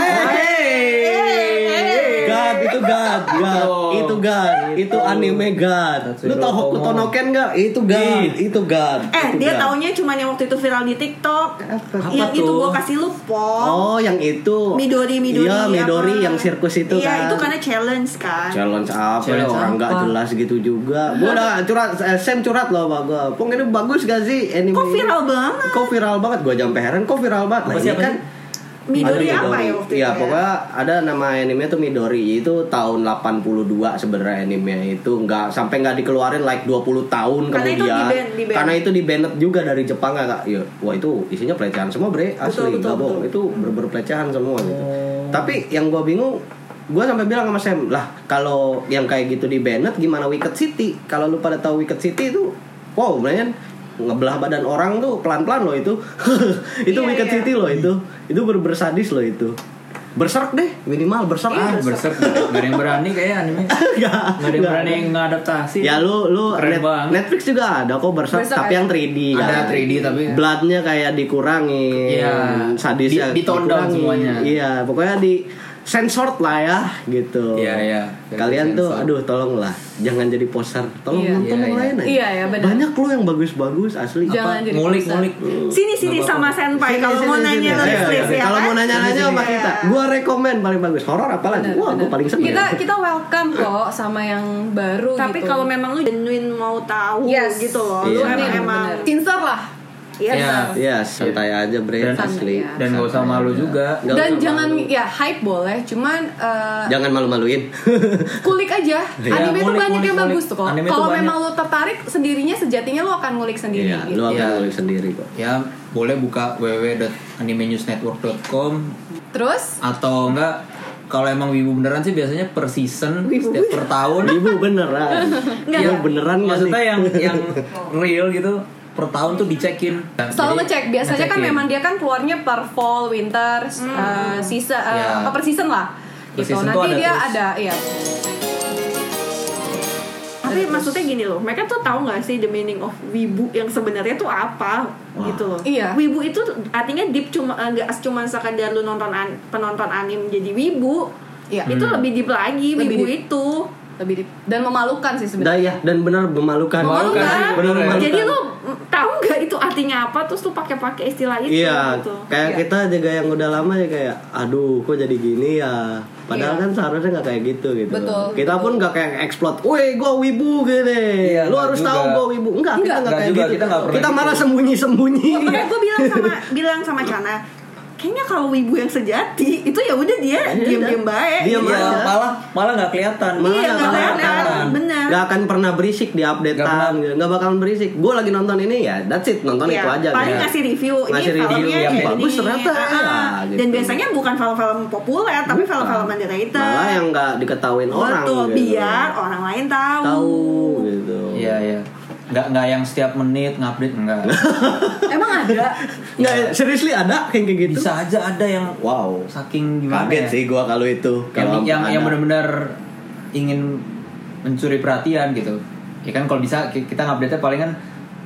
S1: Eh.
S4: God, itu God, God, itu God, itu anime God. Lu tahu Hokuto no Ken gak? Itu God, itu God.
S1: eh
S4: itu
S1: dia
S4: God.
S1: taunya cuman yang waktu itu viral di TikTok
S4: Apa?
S1: yang
S5: Apa
S1: itu
S5: tuh?
S1: gua kasih lu pol
S4: Oh, yang itu.
S1: Midori Midori
S4: Iya,
S1: apa.
S4: Midori yang sirkus itu
S1: iya
S4: kan.
S1: itu karena challenge kan
S4: Challenge apa ya,
S5: Challenge
S4: orang
S5: apa?
S4: nggak jelas gitu juga. Gua udah
S1: [laughs]
S4: curhat, eh, Sam curhat loh sama gua. Pong ini bagus gak sih anime?
S1: Kok viral banget?
S4: Kok viral banget? Gua sampai heran kok viral banget. Nah,
S5: Apa sih,
S4: ini
S5: apa
S4: kan
S5: sih?
S1: Midori
S4: Ada
S1: apa ya waktu itu
S4: Iya,
S1: ya?
S4: pokoknya ada nama anime tuh Midori. Itu tahun 82 sebenarnya anime itu nggak sampai nggak dikeluarin like 20 tahun
S1: Karena itu
S4: kemudian.
S1: di-ban, di-ban.
S4: Karena itu di banned juga dari Jepang kak. Ya, wah itu isinya pelecehan semua bre, asli
S1: Betul, betul,
S4: nggak bohong.
S1: betul. Oh.
S4: Itu berber pelecehan semua gitu. Tapi yang gua bingung Gua sampai bilang sama Sam lah kalau yang kayak gitu di banned gimana Wicked City kalau lu pada tahu Wicked City itu wow Brian ngebelah badan orang tuh pelan-pelan loh itu [laughs] itu
S1: Iya,
S4: Wicked
S1: iya.
S4: City loh itu itu ber bersadis loh itu berserk deh minimal berserk
S5: ah berserk nggak ada yang berani kayak anime
S4: Nggak,
S5: nggak ada yang
S4: nggak
S5: berani ngadaptasi
S4: ya lu lu
S5: Keren
S4: Net-
S5: banget.
S4: Netflix juga ada kok berserk
S3: Berserk
S4: tapi
S3: ada.
S4: yang 3D
S5: ada
S4: kan.
S5: 3D tapi
S4: bloodnya kayak dikurangin
S5: Iya.
S4: sadisnya
S5: Di- ditondown
S4: dikurangin.
S5: semuanya.
S4: iya pokoknya di sensor lah ya gitu
S5: Iya, iya.
S4: kalian tuh
S5: Sensor.
S4: aduh tolonglah jangan jadi poser tolong
S3: Iya.
S5: Iya,
S4: nonton yang
S5: iya.
S4: lain aja
S3: Iya, iya, benar.
S4: banyak lo yang bagus-bagus asli
S3: Jangan
S5: Apa?
S3: jadi
S5: mulik
S3: besar.
S5: mulik
S1: sini sini sama senpai
S4: Sini,
S1: kalau
S4: sini,
S1: mau
S4: sini.
S1: nanya
S4: Ayo,
S1: tulis
S4: ayo,
S1: list
S4: ayo.
S1: ya
S4: Kalau
S1: kan?
S4: mau nanya-nanya sama kita, gua rekomen paling bagus horor apalagi.
S3: Bener,
S4: Wah, gua
S3: bener.
S4: paling seneng. ya.
S3: Kita kita welcome kok sama yang baru
S1: tapi
S3: gitu.
S1: kalau memang lu genuine mau tahu
S3: Yes.
S1: gitu loh lu
S4: Iya.
S1: emang emang
S3: Bener. Sincere lah.
S1: Yes.
S5: Iya. ya.
S4: ya santai aja
S5: Dan-
S4: bre asli.
S3: Santai,
S5: dan gak usah malu juga
S4: Nggak
S3: Dan
S4: usah
S3: jangan
S4: malu.
S3: ya hype boleh, cuman eh,
S4: Jangan malu-maluin.
S3: kulik aja
S4: Iya,
S3: anime itu
S5: ngulik,
S3: banyak yang
S5: ngulik,
S3: bagus
S5: ngulik.
S3: tuh kok
S5: Anime
S3: kalau
S5: tuh
S3: memang lo
S5: banyak.
S3: tertarik sendirinya sejatinya lo akan ngulik sendiri
S4: Iya,
S3: gitu.
S4: lu akan
S5: Iya.
S4: nulis sendiri kok.
S5: ya boleh buka www.animenewsnetwork.com
S3: terus
S5: atau enggak kalau emang wibu beneran sih biasanya per season setiap per tahun
S4: Ibu beneran.
S1: Nggak.
S4: Ibu beneran nggak sih? Oh.
S5: maksudnya yang yang
S4: [laughs]
S5: real gitu per tahun tuh dicekin Nah, Jadi,
S3: selalu ngecek biasanya kan
S5: ngecekin.
S3: memang dia kan keluarnya per fall winter eh, season eh,
S5: Iya.
S3: apa, per season lah
S5: Per
S3: gitu
S5: season tuh
S3: nanti
S5: ada
S3: dia
S5: terus.
S3: ada iya
S1: tapi maksudnya gini loh mereka tuh tahu nggak sih the meaning of wibu yang sebenarnya tuh apa gitu loh
S3: Iya.
S1: wibu itu tuh artinya deep cuma eh, nggak cuma sekadar lu nonton an- penonton anim jadi wibu
S3: Iya.
S1: itu
S4: Hmm.
S1: lebih deep lagi
S3: Lebih
S1: wibu
S3: deep.
S1: itu
S3: lebih di- dan memalukan sih sebenarnya
S4: Daya dan benar memalukan.
S1: Memalukan.
S5: Memalukan sih, bener ya.
S1: Kan jadi lu tahu nggak itu artinya apa terus lu pakai-pakai istilah itu
S4: Iya,
S1: gitu
S4: kayak
S3: Iya.
S4: kita juga yang udah lama ya kayak, aduh kok jadi gini ya. Padahal
S3: Iya.
S4: kan seharusnya nggak kayak gitu gitu.
S3: Betul,
S4: kita
S3: betul.
S4: pun nggak kayak explode, weh gue wibu gini.
S5: Iya,
S4: Lu
S5: nggak
S4: harus
S5: juga.
S4: tahu gue wibu. Enggak, kita
S3: Nggak.
S4: nggak
S5: Nggak
S4: kayak
S5: juga,
S4: gitu.
S5: kita nggak pernah gitu.
S4: malah sembunyi-sembunyi. Iya,
S1: makanya gue bilang sama bilang sama Chana kayaknya kalau wibu yang sejati itu ya udah dia
S4: Iya,
S1: diam-diam baik gitu."
S4: Diam
S5: Iya,
S4: aja.
S5: malah malah nggak kelihatan
S4: Malah
S1: Iya, nggak
S4: nggak
S1: kelihatan.
S5: kelihatan.
S1: Benar.
S4: Gak akan pernah berisik di
S5: Nggak
S4: updatean
S5: pernah.
S4: gitu. Nggak bakalan berisik. Gue lagi nonton ini ya, that's it. Nonton
S1: Iya,
S4: itu aja.
S1: paling
S4: gitu.
S1: ngasih review ini
S4: Ngasih review
S1: filmnya
S4: yang
S1: kayak
S4: bagus
S1: gini.
S4: ternyata,
S1: Ah,
S4: ya, gitu.
S1: dan biasanya bukan film-film populer tapi
S4: Bukan.
S1: film-film underrated
S4: Malah yang nggak diketahuin orang.
S1: betul
S4: gitu.
S1: biar orang lain tahu,
S4: tahu gitu.
S5: Iya iya. Nggak nggak yang setiap menit ngupdate
S4: [laughs]
S5: enggak.
S3: Emang
S5: [laughs]
S3: ada?
S4: Nggak, seriously ada yang kayak gitu?
S5: Bisa aja ada yang
S4: Wow.
S5: saking gimana
S4: Kaget
S5: ya?
S4: sih gua kalau itu.
S5: yang
S4: Kalau
S5: yang,
S4: ada.
S5: yang benar-benar ingin mencuri perhatian gitu. Ya kan kalau bisa ki- kita ngupdate-nya paling kan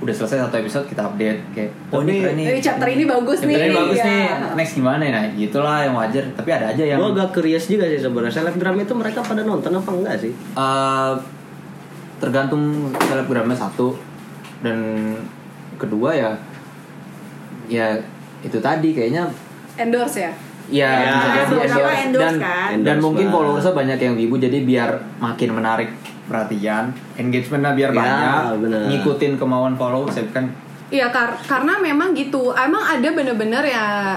S5: udah selesai satu episode kita update kayak
S4: Oh, ini-
S5: keren
S3: Tapi chapter ini bagus
S5: Chapter ini
S3: nih,
S5: bagus
S3: iya.
S5: nih. Next gimana ya? Nah, gitulah yang wajar. Tapi ada aja yang
S4: Gue agak curious juga sih sebenarnya selebgram itu mereka pada nonton apa enggak sih?
S5: Uh, tergantung selebgramnya satu dan kedua ya ya itu tadi kayaknya
S3: Endorse ya?
S5: ya,
S4: Ya,
S5: bisa jadi
S1: beberapa
S5: endorse.
S1: endorse
S5: dan
S1: kan.
S5: dan
S4: Endorse
S5: mungkin
S4: lah.
S5: followersnya banyak yang wibu jadi biar makin menarik perhatian engagementnya biar
S4: Ya,
S5: banyak
S4: bener.
S5: ngikutin kemauan followers ya kan
S3: Iya kar- karena memang gitu. Emang ada bener-bener ya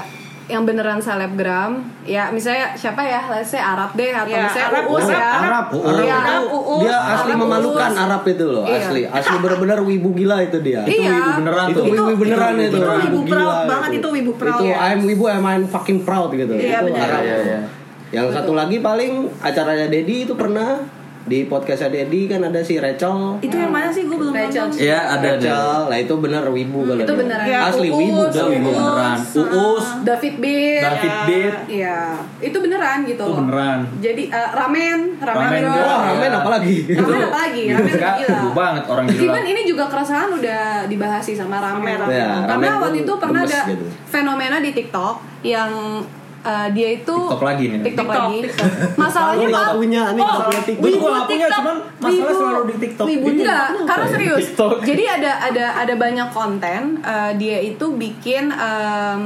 S3: yang beneran selebgram ya misalnya siapa ya let's say Arab deh atau
S1: Ya,
S3: misalnya
S1: Arab,
S3: Uus ya
S4: Arab,
S5: Oh,
S3: Iya,
S4: Arab.
S3: Arab, Uus,
S4: dia asli
S3: Arab,
S4: memalukan
S3: Uus.
S4: Arab itu loh,
S3: Iya.
S4: asli. Asli benar-benar wibu gila itu dia.
S3: Itu Iya. wibu beneran
S4: itu
S5: tuh.
S4: wibu
S1: Itu-
S4: beneran
S5: itu
S4: itu.
S5: wibu
S1: wibu proud banget, itu wibu proud.
S4: Itu
S1: Yes.
S4: I'm wibu I'm, I'm fucking proud gitu.
S1: Iya,
S4: itu
S1: benar.
S4: Arab.
S5: Iya, iya, iya.
S4: Yang satu lagi paling acaranya Dedi itu pernah di podcastnya Dedi kan ada si Rachel.
S1: itu yang mana sih gue belum
S3: Rachel.
S1: nonton
S4: Iya.
S5: ya ada ada
S4: Rachel, lah itu bener wibu kalau
S3: itu
S4: dia.
S3: beneran.
S1: Ya,
S4: Asli
S1: Uus,
S4: wibu,
S5: udah Iya, wibu
S1: Uus,
S5: beneran
S1: ah.
S5: uus
S3: David Beer
S5: David Beat
S3: Iya, itu beneran gitu
S5: Itu
S3: loh.
S5: Oh, beneran.
S3: Jadi eh, ramen, Oh, ramen,
S5: Ramen
S3: doang.
S5: doang.
S4: Wah, ramen apalagi.
S3: Ramen apa lagi?
S5: Gitu,
S3: Ramen
S5: Kak.
S3: Iya, kan gila.
S5: Wibu banget orang gila
S3: Even ini juga keresahan udah dibahas sih sama ramen.
S1: Ramen, ramen.
S4: Ya,
S3: Karena
S4: ramen
S3: waktu
S4: tuh
S3: itu pernah
S4: gemes
S3: ada
S4: gitu.
S3: fenomena di TikTok yang eh, dia itu
S5: TikTok lagi nih.
S3: TikTok,
S1: Tiktok,
S3: lagi.
S1: TikTok.
S4: Lu
S3: Masalahnya
S4: nggak
S3: Pak,
S4: punya, nih nggak punya TikTok.
S5: Gue juga gak punya,
S3: TikTok.
S5: cuman masalah
S3: Wibu.
S5: selalu di TikTok.
S3: Wibu enggak, karena serius.
S5: TikTok.
S3: Jadi ada ada ada banyak konten eh, dia itu bikin em,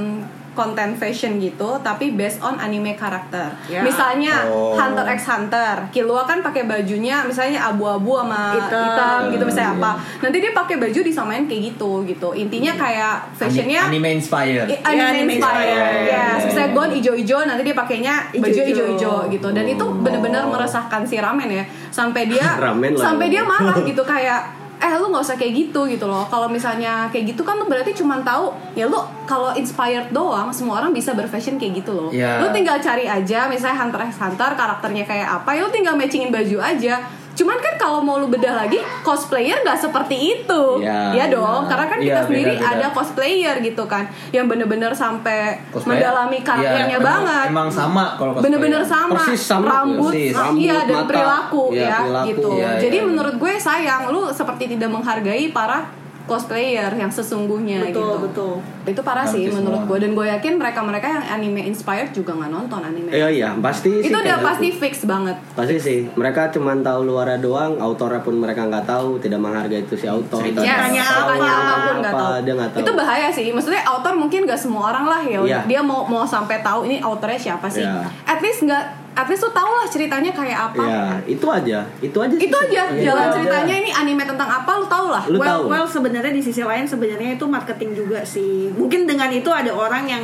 S3: konten fashion gitu tapi based on anime karakter.
S1: Ya.
S3: Misalnya
S5: Oh.
S3: Hunter x Hunter. Kilua kan pakai bajunya misalnya abu-abu sama
S1: Hitam.
S3: hitam, gitu misalnya
S4: Iya.
S3: apa. Nanti dia pakai baju disamain kayak gitu gitu. Intinya kayak fashionnya
S5: anime inspired.
S3: I-
S1: Ya, anime
S3: anime
S1: inspired.
S3: inspired.
S5: Ya,
S3: Ya,
S5: ya,
S3: misalnya
S5: ya.
S3: gon ijo-ijo nanti dia pakainya baju
S1: Ijo-ijo.
S3: ijo-ijo gitu. Dan itu bener-bener meresahkan si ramen ya. Sampai dia
S4: Ramen lah.
S3: sampai dia marah gitu kayak eh lu nggak usah kayak gitu gitu loh kalau misalnya kayak gitu kan lu berarti cuma tahu ya lu kalau inspired doang semua orang bisa berfashion kayak gitu loh
S5: Ya.
S3: lu tinggal cari aja misalnya hunter x hunter karakternya kayak apa ya lu tinggal matchingin baju aja cuman kan kalau mau lu bedah lagi cosplayer nggak seperti itu
S4: Ya,
S3: ya dong
S4: ya.
S3: karena kan
S5: Iya,
S3: kita sendiri
S5: beda-beda.
S3: ada cosplayer gitu kan yang bener-bener sampai
S5: Cosplayer. Iya,
S3: mendalami karakternya
S5: emang-
S3: banget
S5: Emang sama kalau cosplayer.
S3: bener-bener sama,
S4: Persis sama,
S3: rambut,
S4: persis.
S3: ah,
S4: Rambut,
S3: iya dan
S4: mata.
S3: perilaku
S4: Iya,
S3: ya
S4: perilaku.
S3: gitu
S5: Iya, iya,
S3: jadi
S5: iya.
S3: menurut gue sayang lu seperti tidak menghargai para cosplayer yang sesungguhnya
S1: betul
S3: gitu
S1: betul
S3: itu parah sih
S5: Nanti
S3: menurut
S5: semua.
S3: gue dan gue yakin mereka-mereka yang anime inspired juga nggak nonton anime
S4: Iya iya, pasti sih
S3: itu udah
S4: kayak
S3: pasti
S4: gitu.
S3: fix banget
S4: Pasti sih, mereka cuma tahu luarnya doang, autornya pun mereka nggak tahu, tidak menghargai itu si autor.
S5: Ceritanya
S4: Tidak
S1: Ceritanya
S4: tahu
S1: apa,
S3: apapun nggak
S4: Iya, apa,
S3: tahu.
S4: dia nggak tahu.
S3: Itu bahaya sih. Maksudnya author mungkin nggak semua orang lah ya. udah.
S4: Iya.
S3: Dia mau mau sampai tahu ini authornya siapa sih.
S4: Iya.
S3: At least nggak, at least tuh tau lah ceritanya kayak apa.
S4: Iya, itu aja, itu aja. sih.
S3: Itu aja
S4: Iya,
S3: jalan
S4: itu aja.
S3: ceritanya ini anime tentang apa lu tau lah.
S4: Lu
S1: well,
S4: tahu.
S1: well sebenarnya di sisi lain sebenarnya itu marketing juga sih. Mungkin dengan itu ada orang yang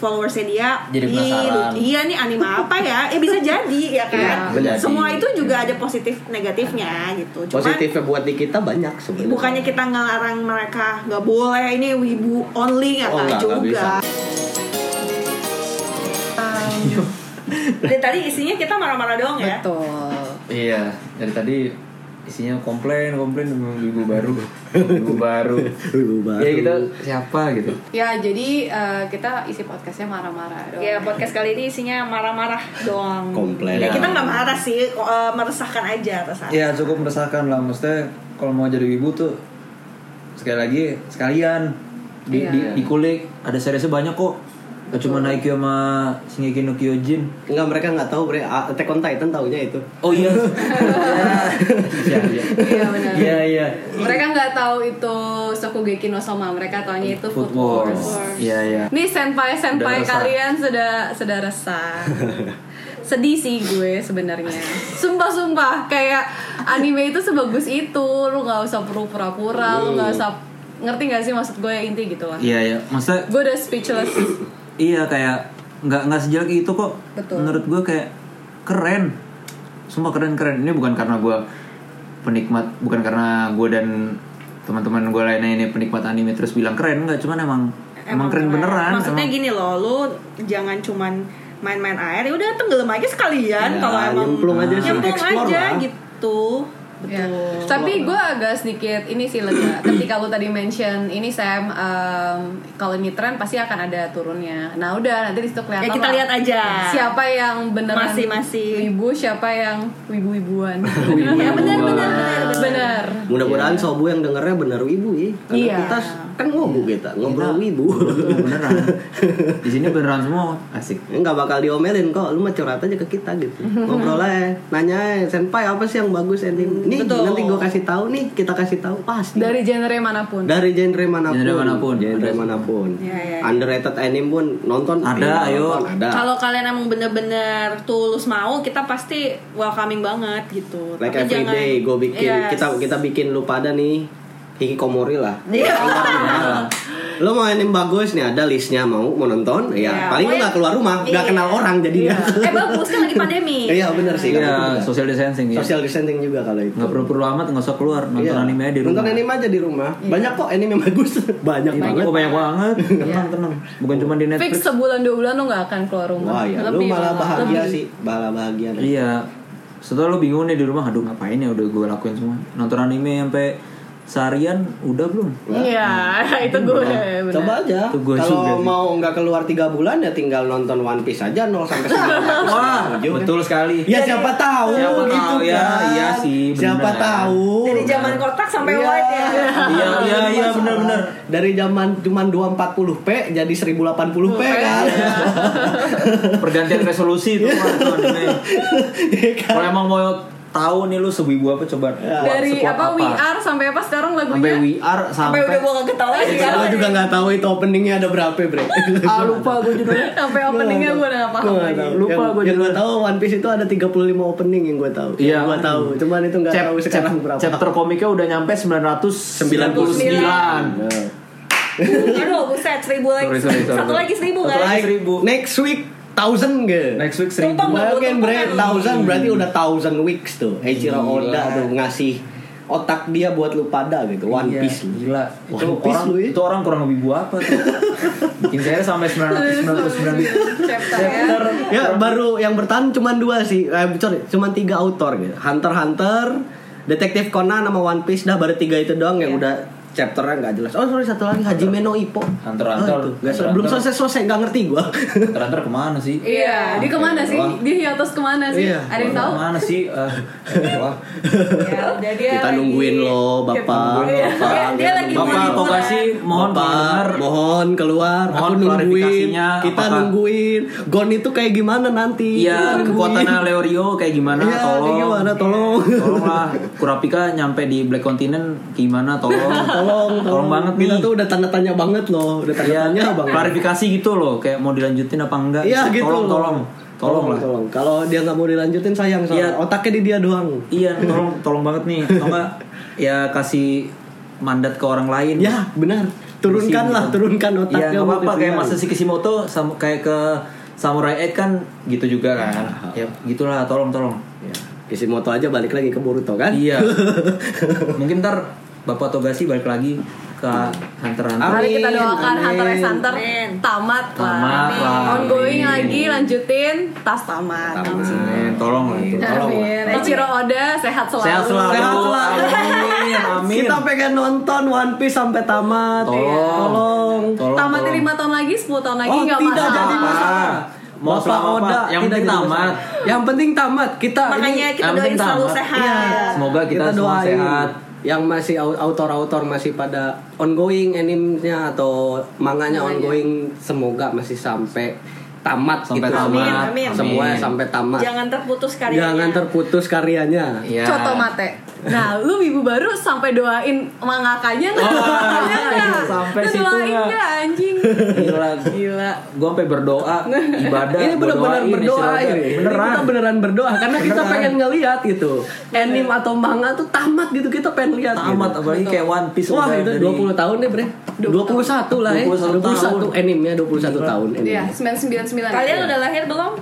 S1: followersnya dia
S5: Jadi
S1: "Ih,
S5: penasaran."
S1: lu- iya nih anime apa ya? Eh bisa jadi ya kan.
S5: Iya, bisa
S1: Semua
S5: jadi.
S1: itu juga ada positif negatifnya gitu. Cuman
S4: Positifnya buat di kita banyak sebenarnya.
S1: bukannya kita ngelarang mereka nggak boleh ini wibu only nggak
S4: Oh,
S1: tahu
S4: nggak, nggak
S1: [laughs] juga.
S4: bisa.
S3: Um,
S1: Dari tadi isinya kita marah-marah doang ya.
S3: betul.
S5: Iya, dari tadi isinya komplain, komplain ibu baru, ibu [laughs] baru.
S4: Wibu baru.
S5: ya kita siapa gitu.
S3: Ya jadi eh, kita isi podcastnya marah-marah doang.
S1: Ya podcast kali ini isinya marah-marah doang.
S4: Komplain.
S1: Ya, kita nggak marah sih, ko- eh, meresahkan aja resah.
S5: Iya cukup meresahkan lah. Maksudnya kalau mau jadi ibu tuh sekali lagi sekalian di,
S3: Iya.
S5: di, dikulik. Ada seriesnya banyak kok. Gak cuma Naikyo sama Shingeki no Kyojin.
S4: Enggak mereka nggak tahu, mereka Attack on Titan taunya itu.
S5: Oh
S3: [laughs]
S5: iya. [laughs] Iya, iya.
S3: [laughs] Iya benar.
S5: Iya, iya.
S3: Mereka nggak tahu itu Sokugeki no Soma, mereka taunya Iya, itu Food,
S5: Food Wars.
S3: Wars.
S5: Iya, iya.
S3: Nih senpai senpai
S5: Sudah resah.
S3: kalian sudah sudah
S5: [laughs]
S3: resah. Sedih sih gue sebenarnya. Sumpah sumpah kayak anime itu sebagus itu, lu nggak usah perlu pura-pura, lu nggak usah ngerti gak sih maksud gue inti gitu lah.
S5: Iya, iya. Maksudnya
S3: Gue udah speechless.
S5: Iya kayak nggak nggak sejelek itu kok.
S3: Betul.
S5: Menurut gue kayak keren. Sumpah keren keren. Ini bukan karena gue penikmat bukan karena gue dan teman-teman gue lainnya ini penikmat anime terus bilang keren nggak cuman emang emang, keren beneran
S1: Maksudnya gitu.
S5: emang-
S1: gini loh, lu jangan cuman main-main air, ya udah tenggelam aja sekalian
S5: Ya,
S1: kalau emang
S4: nyemplung aja sih,
S1: nyemplung
S4: explore
S1: aja
S4: lah.
S1: gitu.
S3: Ya.
S1: Betul.
S3: Tapi gue agak sedikit ini sih lega. Ketika lu tadi mention ini Sam, em, kalau ini tren pasti akan ada turunnya. Nah udah nanti di situ kelihatan.
S1: Ya kita
S3: lah
S1: lihat aja.
S3: Siapa yang beneran
S1: Masih-masih.
S3: wibu, siapa yang
S4: [laughs]
S3: wibu-wibuan.
S1: Ya benar benar benar.
S3: Bener.
S5: Iya.
S4: Mudah-mudahan sobu yang dengernya bener wibu ya. Karena
S3: Iya.
S4: kita s- kan ngobu kita, ngobrol
S5: Iya.
S4: wibu. [laughs]
S5: Tuh, beneran di sini beneran semua asik
S4: Nggak bakal diomelin kok, lu mah curhat aja ke kita
S1: [laughs]
S4: gitu Ngobrol aja, nanya aja, senpai apa sih yang bagus ending Nih
S1: Betul.
S4: nanti gue kasih tahu nih, kita kasih tahu pasti
S3: Dari genre manapun.
S4: Dari genre manapun
S5: Genre manapun.
S4: Genre
S5: Ada semua.
S4: manapun.
S1: Iya,
S4: Underrated anime pun nonton
S5: Ada,
S4: Iya,
S5: ayo.
S4: nonton, Ada
S1: Kalau kalian emang bener-bener tulus mau, kita pasti welcoming banget gitu.
S4: Like
S1: Tapi
S4: every
S1: jangan-
S4: day gue bikin,
S1: Yes.
S4: kita kita bikin lu pada nih Hikikomori lah
S1: Iya. [laughs]
S4: Lo mau anime bagus nih ada listnya mau mau nonton ya
S1: Iya.
S4: paling lo
S1: Pokoknya-
S4: nggak keluar rumah nggak
S1: Iya.
S4: kenal orang jadi [laughs]
S1: eh bagus kan lagi pandemi.
S4: iya benar
S5: iya
S4: sih Itu juga.
S5: social distancing ya
S4: social distancing juga kalau itu
S5: nggak perlu perlu amat nggak usah keluar nonton
S4: Iya.
S5: anime aja di rumah
S4: nonton anime aja di rumah
S1: Iya.
S4: banyak kok anime yang bagus banyak
S5: Iya,
S4: banget
S5: oh, [laughs] banyak banget tenang tenang bukan cuma di
S3: Fix
S5: Netflix
S3: sebulan dua bulan lu gak akan keluar rumah.
S4: wah ya lu
S3: Lebih
S4: malah bahagia
S3: Lebih.
S4: sih malah bahagia nih.
S5: Iya. Setelah lo bingung nih di rumah, aduh ngapain ya udah gue lakuin semua. Nonton anime sampai seharian udah belum?
S3: Iya, [laughs] itu gue.
S1: Eh,
S3: bener.
S4: Coba aja.
S5: Itu gua juga
S4: Kalau
S5: sih.
S4: mau nggak keluar 3 bulan ya tinggal nonton One Piece aja 0 sampai
S5: [laughs]
S4: 9.
S5: Wah,
S4: Setuju.
S5: betul sekali.
S4: Ya siapa tahu
S5: Siapa
S4: gitu
S5: tahu,
S4: kan.
S5: ya, iya sih,
S4: Siapa
S5: benar.
S4: tahu.
S1: Dari zaman kotak sampai
S4: Iya.
S1: white ya.
S5: Iya, iya, iya benar-benar.
S4: Dari zaman cuman 240p jadi 1080p kan.
S1: iya.
S5: Pergantian resolusi itu mah, tuh
S4: [laughs]
S5: anime.
S4: Iya kan?
S5: Kalau emang mau tahu nih lu sewibu apa coba kuat,
S3: Dari
S5: sekuat
S3: apa, We Are sampai apa sekarang
S5: sampai
S3: lagunya?
S5: we are
S1: Sampai
S5: sampai
S1: udah gua gak ketawa lagi kan.
S4: Gue Iya, juga nggak tahu itu openingnya ada berapa bre.
S1: [laughs]
S5: ah lupa gue
S4: [laughs]
S5: judulnya
S3: Sampai openingnya gue udah gak paham
S4: Iya, Gua nggak
S3: lagi.
S4: tahu.
S5: Lupa
S4: Yang-
S5: gua
S4: Yang gue tahu One Piece itu ada 35 opening yang gue tahu.
S5: Iya.
S4: Gue tahu. Cuman itu nggak
S5: Chap-
S4: tahu sekarang
S5: chap-
S4: berapa.
S5: chapter komiknya udah nyampe 999
S1: 99. Aduh, buset seribu lagi.
S5: Sorry, sorry, sorry.
S1: Satu lagi seribu
S5: Satu
S1: kan?
S5: lagi.
S4: Like,
S5: Seribu.
S4: next week thousand gak?
S5: next week seribu
S1: Sumpah gak
S3: kan?
S4: Mungkin bre, thousand berarti udah thousand weeks tuh. Eiichiro
S5: Gila.
S4: Oda tuh ngasih otak dia buat lu pada gitu. One
S5: Iya,
S4: Piece lu.
S5: gila
S4: One
S5: itu
S4: Piece
S5: orang
S4: lu ya.
S5: itu orang kurang wibu apa tuh bikin saya sampai
S3: Iya.
S5: 999
S3: Chapter ya.
S4: Ya baru yang bertahan cuman dua sih. Eh, sorry, cuman tiga autor gitu. Hunter x Hunter, Detektif Conan sama One Piece dah baru tiga itu doang
S5: Iya.
S4: yang udah chapternya nggak jelas. Oh sorry satu lagi Hajime no Ippo.
S5: Hunter x
S4: Oh,
S5: Hunter.
S4: itu.
S5: Hunter
S4: Nggak
S5: x
S4: belum
S5: Hunter.
S4: selesai selesai nggak ngerti
S5: [laughs]
S4: gua.
S5: Terantar kemana sih
S3: Iya, dia kemana sih? Dia hiatus kemana sih?
S4: Iya.
S3: Ada yang tahu?
S5: kemana sih Eh, eh, wah
S1: Iya,
S3: Ya, udah dia
S5: Iya,
S4: Kita
S3: lagi-
S4: nungguin lo bapak.
S5: Nungguin
S3: Iya.
S5: lo,
S1: Dia, dia lagi
S5: bapak
S1: liburan.
S5: Tokashi mohon
S4: Bapak,
S5: dengar
S4: mohon keluar.
S5: Mohon
S4: Aku nungguin.
S5: klarifikasinya,
S4: Kita
S5: apakah-
S4: nungguin. Gon itu kayak gimana nanti? Kita
S5: Iya,
S4: nungguin.
S5: kekuatannya Leorio kayak gimana?
S4: Iya, kayak
S5: tolong. Iya,
S4: gimana, tolong.
S5: Tolonglah Kurapika nyampe di Black Continent gimana? Tolong.
S4: [laughs] Tolong, Iya.
S5: Tolong banget nih.
S4: Kita tuh udah tanda tanya banget loh, udah tanda
S5: Iya,
S4: tanya banget.
S5: klarifikasi gitu loh, kayak mau dilanjutin apa enggak?
S4: Iya gitu.
S5: Tolong,
S4: loh.
S5: tolong, tolong lah.
S4: tolong. Kalau dia nggak mau dilanjutin sayang soalnya
S5: Iya.
S4: otaknya di dia doang.
S5: Iya, tolong, tolong banget nih. Atau enggak ya kasih mandat ke orang lain.
S4: Ya benar. Turunkanlah, turunkan
S5: Iya,
S4: otaknya. ya.
S5: nggak
S4: mau
S5: apa-apa kayak
S4: ditinggal.
S5: Masashi Kishimoto sama kayak ke Samurai 8 kan gitu juga kan. Ya, gitulah, tolong, tolong.
S4: Ya, Kishimoto aja balik lagi ke Boruto kan?
S5: Iya. Mungkin ntar Bapak Togashi balik lagi ke Hunter x Hunter.
S4: Amin,
S3: Mari kita doakan
S4: amin.
S3: Hunter x Hunter
S1: Amin.
S3: tamat lah.
S5: Tamat lah.
S3: Ongoing
S5: Amin.
S3: lagi lanjutin tas tamat.
S5: Amin. Tolong lah itu. Tolong lah.
S3: Amin. Ichiro Oda sehat selalu.
S5: Sehat selalu.
S4: Sehat selalu.
S5: Amin. Amin.
S4: Kita pengen nonton One Piece sampai tamat. iya.
S5: Tolong.
S4: Tolong.
S5: Tolong.
S3: Tamat
S5: tolong.
S3: 5 tahun lagi, 10 tahun lagi
S4: Oh,
S3: nggak
S4: tidak
S3: masalah.
S4: jadi masalah.
S5: Mau
S4: Bapak
S5: selama apa?
S4: Oda
S5: Yang
S4: tidak
S5: penting
S4: jadi
S5: tamat.
S4: masalah. Yang penting tamat. Kita
S1: Makanya
S4: ini-
S1: kita
S5: yang
S1: doain
S5: penting
S1: selalu
S5: tamat.
S1: sehat.
S5: Semoga kita, semua
S4: doain
S5: sehat.
S4: Yang masih au- autor-autor masih pada ongoing animenya atau manganya
S1: Nah, iya.
S4: ongoing semoga masih sampai tamat
S5: Sampai
S4: gitu.
S5: tamat.
S4: Semua-
S1: Amin, amin.
S4: Semua
S5: Amin.
S4: sampai tamat.
S1: Jangan terputus ya. karyanya.
S4: Jangan terputus karyanya.
S5: Iya.
S3: Coto mate. Nah, lu ibu baru sampai doain mangakanya
S5: Oh,
S3: nggak? Doain nggak?
S5: iya, sampai
S3: Lu
S5: situ
S3: doain
S5: nggak?
S3: nggak, anjing?
S5: Gila, gila. Gue sampai berdoa, ibadah,
S4: ini
S5: gua
S4: benar-benar
S5: doain,
S4: berdoa iya.
S5: istirahat.
S4: ini.
S5: Beneran.
S4: Kita beneran berdoa karena kita pengen ngelihat gitu. Anime atau manga tuh tamat gitu kita pengen lihat.
S5: Tamat
S4: gitu.
S5: apalagi kayak One Piece
S4: Wah
S5: udah
S4: itu
S5: dari-
S4: 20 tahun deh bre 21 lah ya
S5: 21 tahun.
S4: 21 animenya 21 tahun ini
S3: Iya, 99 99.
S1: Kalian udah lahir belum?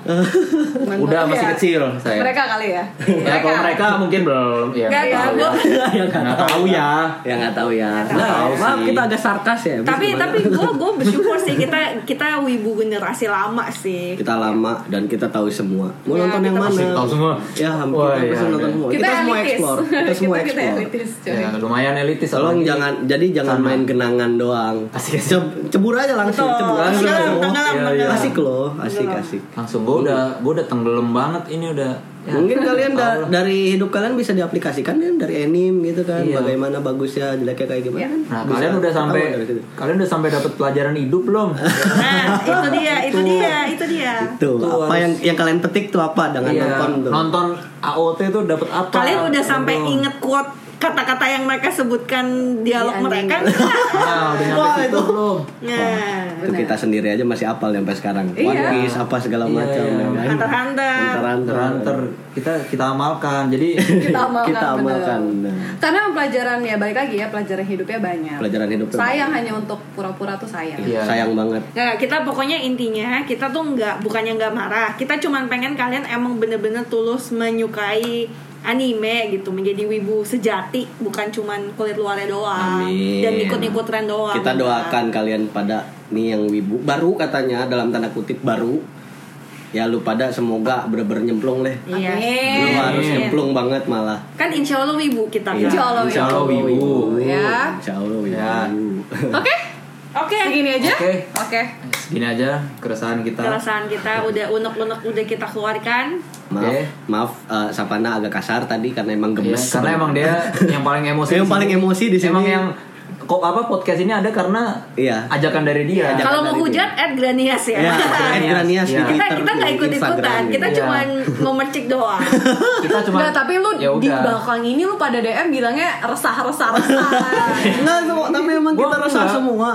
S3: Mentok
S5: Udah, masih
S3: ya.
S5: kecil saya.
S3: Mereka kali ya.
S5: Ya, kalau mereka mungkin belum ya.
S1: Nggak
S5: tahu
S1: tahu.
S5: ya. Ya, nggak tahu ya.
S4: Ya nggak tahu ya.
S5: Nggak tahu
S4: Maaf
S5: sih.
S4: kita agak sarkas ya.
S1: tapi
S4: Gimana?
S1: tapi gue gue bersyukur sih kita kita wibu generasi lama sih
S4: kita lama dan kita tahu semua. Mau
S1: Ya,
S4: nonton yang
S1: kita
S4: mana?
S5: pasti tahu semua.
S4: Ya hampir
S5: Wah,
S4: kita
S5: iya,
S4: pasti nonton
S5: iya.
S4: semua. Kita,
S3: Kita
S4: semua
S3: elitis. [laughs]
S4: explore. Kita semua
S3: Kita- kita
S4: explore.
S3: elitis, coy.
S5: Ya, lumayan elitis.
S4: Tolong
S5: apalagi.
S4: jangan jadi jangan
S5: Iya. Sama.
S4: main kenangan doang.
S5: Asik, asik.
S4: Ceb- cebur aja langsung,
S1: Betul.
S4: cebur
S5: Langsung.
S1: Tenggelam, tenggelam,
S5: Iya,
S1: tenggelam.
S5: iya.
S4: Asik loh, asik asik.
S5: Langsung gue udah gue udah tenggelam banget ini udah. Ya,
S4: Mungkin kalian
S5: tahu
S4: da-
S5: lah.
S4: dari hidup kalian bisa diaplikasikan kan dari anime gitu kan,
S5: Iya.
S4: bagaimana bagusnya jeleknya kayak gimana. kan?
S5: Nah,
S4: Bisa
S5: kalian udah
S4: ketahuan
S5: sampai
S4: dari situ.
S5: kalian udah sampai dapat pelajaran hidup belum?
S1: nah itu dia itu dia itu dia
S4: Tuh,
S5: Itu
S4: apa
S5: harus-
S4: yang yang kalian petik tuh apa dengan
S5: Iya,
S4: nonton tuh?
S5: [laughs] nonton AOT tuh dapat apa?
S1: kalian udah sampai
S5: Aduh.
S1: inget quote kata-kata yang mereka sebutkan dialog
S3: Iya,
S1: mereka
S5: Nah, udah nyampe
S4: Wah,
S5: situ
S4: itu.
S5: belum?
S1: nah
S4: Itu kita sendiri aja masih apal ya sampai sekarang. One
S3: Iya.
S4: Piece apa segala
S5: Iya,
S4: macam.
S5: iya.
S4: ya kan?
S1: Hunter x Hunter.
S4: Hunter x Hunter.
S5: Hunter kita kita amalkan. [laughs] Jadi
S3: Kita amalkan.
S4: Kita amalkan,
S3: bener.
S4: bener.
S3: Karena pelajarannya balik lagi ya, pelajaran hidupnya banyak.
S4: Pelajaran hidupnya
S3: Sayang hanya untuk pura-pura tuh sayang.
S5: Iya.
S4: Sayang banget.
S1: Nah, kita pokoknya intinya kita tuh nggak bukannya nggak marah, kita cuman pengen kalian emang bener-bener tulus menyukai anime gitu, menjadi wibu sejati, bukan cuman kulit luarnya doang
S4: Amin.
S1: Ah, dan ikut-ikut tren doang.
S4: Kita doakan kalian pada nih yang wibu baru katanya dalam tanda kutip baru. Ya lu pada semoga bener-bener nyemplung deh.
S1: Iya.
S4: Lu
S3: Amin.
S4: harus
S5: Amin.
S4: nyemplung banget malah.
S1: Kan insya Allah wibu kita.
S4: Iya.
S3: Insya Allah.
S5: Insya Allah
S3: ya.
S5: wibu.
S3: Ya.
S4: Insya Allah wibu. [laughs]
S5: Ya.
S3: Oke.
S1: Oke.
S4: Iya.
S3: Segini aja.
S5: Oke.
S3: Oke.
S5: Segini aja keresahan kita. Iya,
S1: Perasaan
S4: Iya.
S1: kita udah unek-unek udah kita keluarkan.
S4: Maaf,
S5: Oke.
S4: maaf eh, Sapana agak kasar tadi karena emang
S5: Iya,
S4: gemes.
S5: karena emang dia yang paling emosi.
S4: Yang
S5: di sini.
S4: paling emosi di sini.
S5: Emang yang kok apa podcast ini ada karena
S4: Iya.
S5: ajakan dari dia.
S4: Ajakan.
S1: Kalau mau
S4: dari
S1: hujat at Granias ya.
S4: Ya, Ed Granias di
S5: Iya.
S1: kita
S4: Twitter,
S1: kita nggak
S4: di
S1: ikut-ikutan,
S4: Instagram Iya.
S1: kita
S5: gitu.
S1: cuman mau mercik doang.
S4: [laughs]
S5: Kita cuma
S3: Nggak, tapi lu
S5: ya
S3: di
S5: udah.
S3: belakang ini lu pada DM bilangnya resah resah resah.
S5: [laughs]
S4: Enggak, semua- tapi emang
S5: Gua
S4: kita resah
S5: enggak.
S4: semua.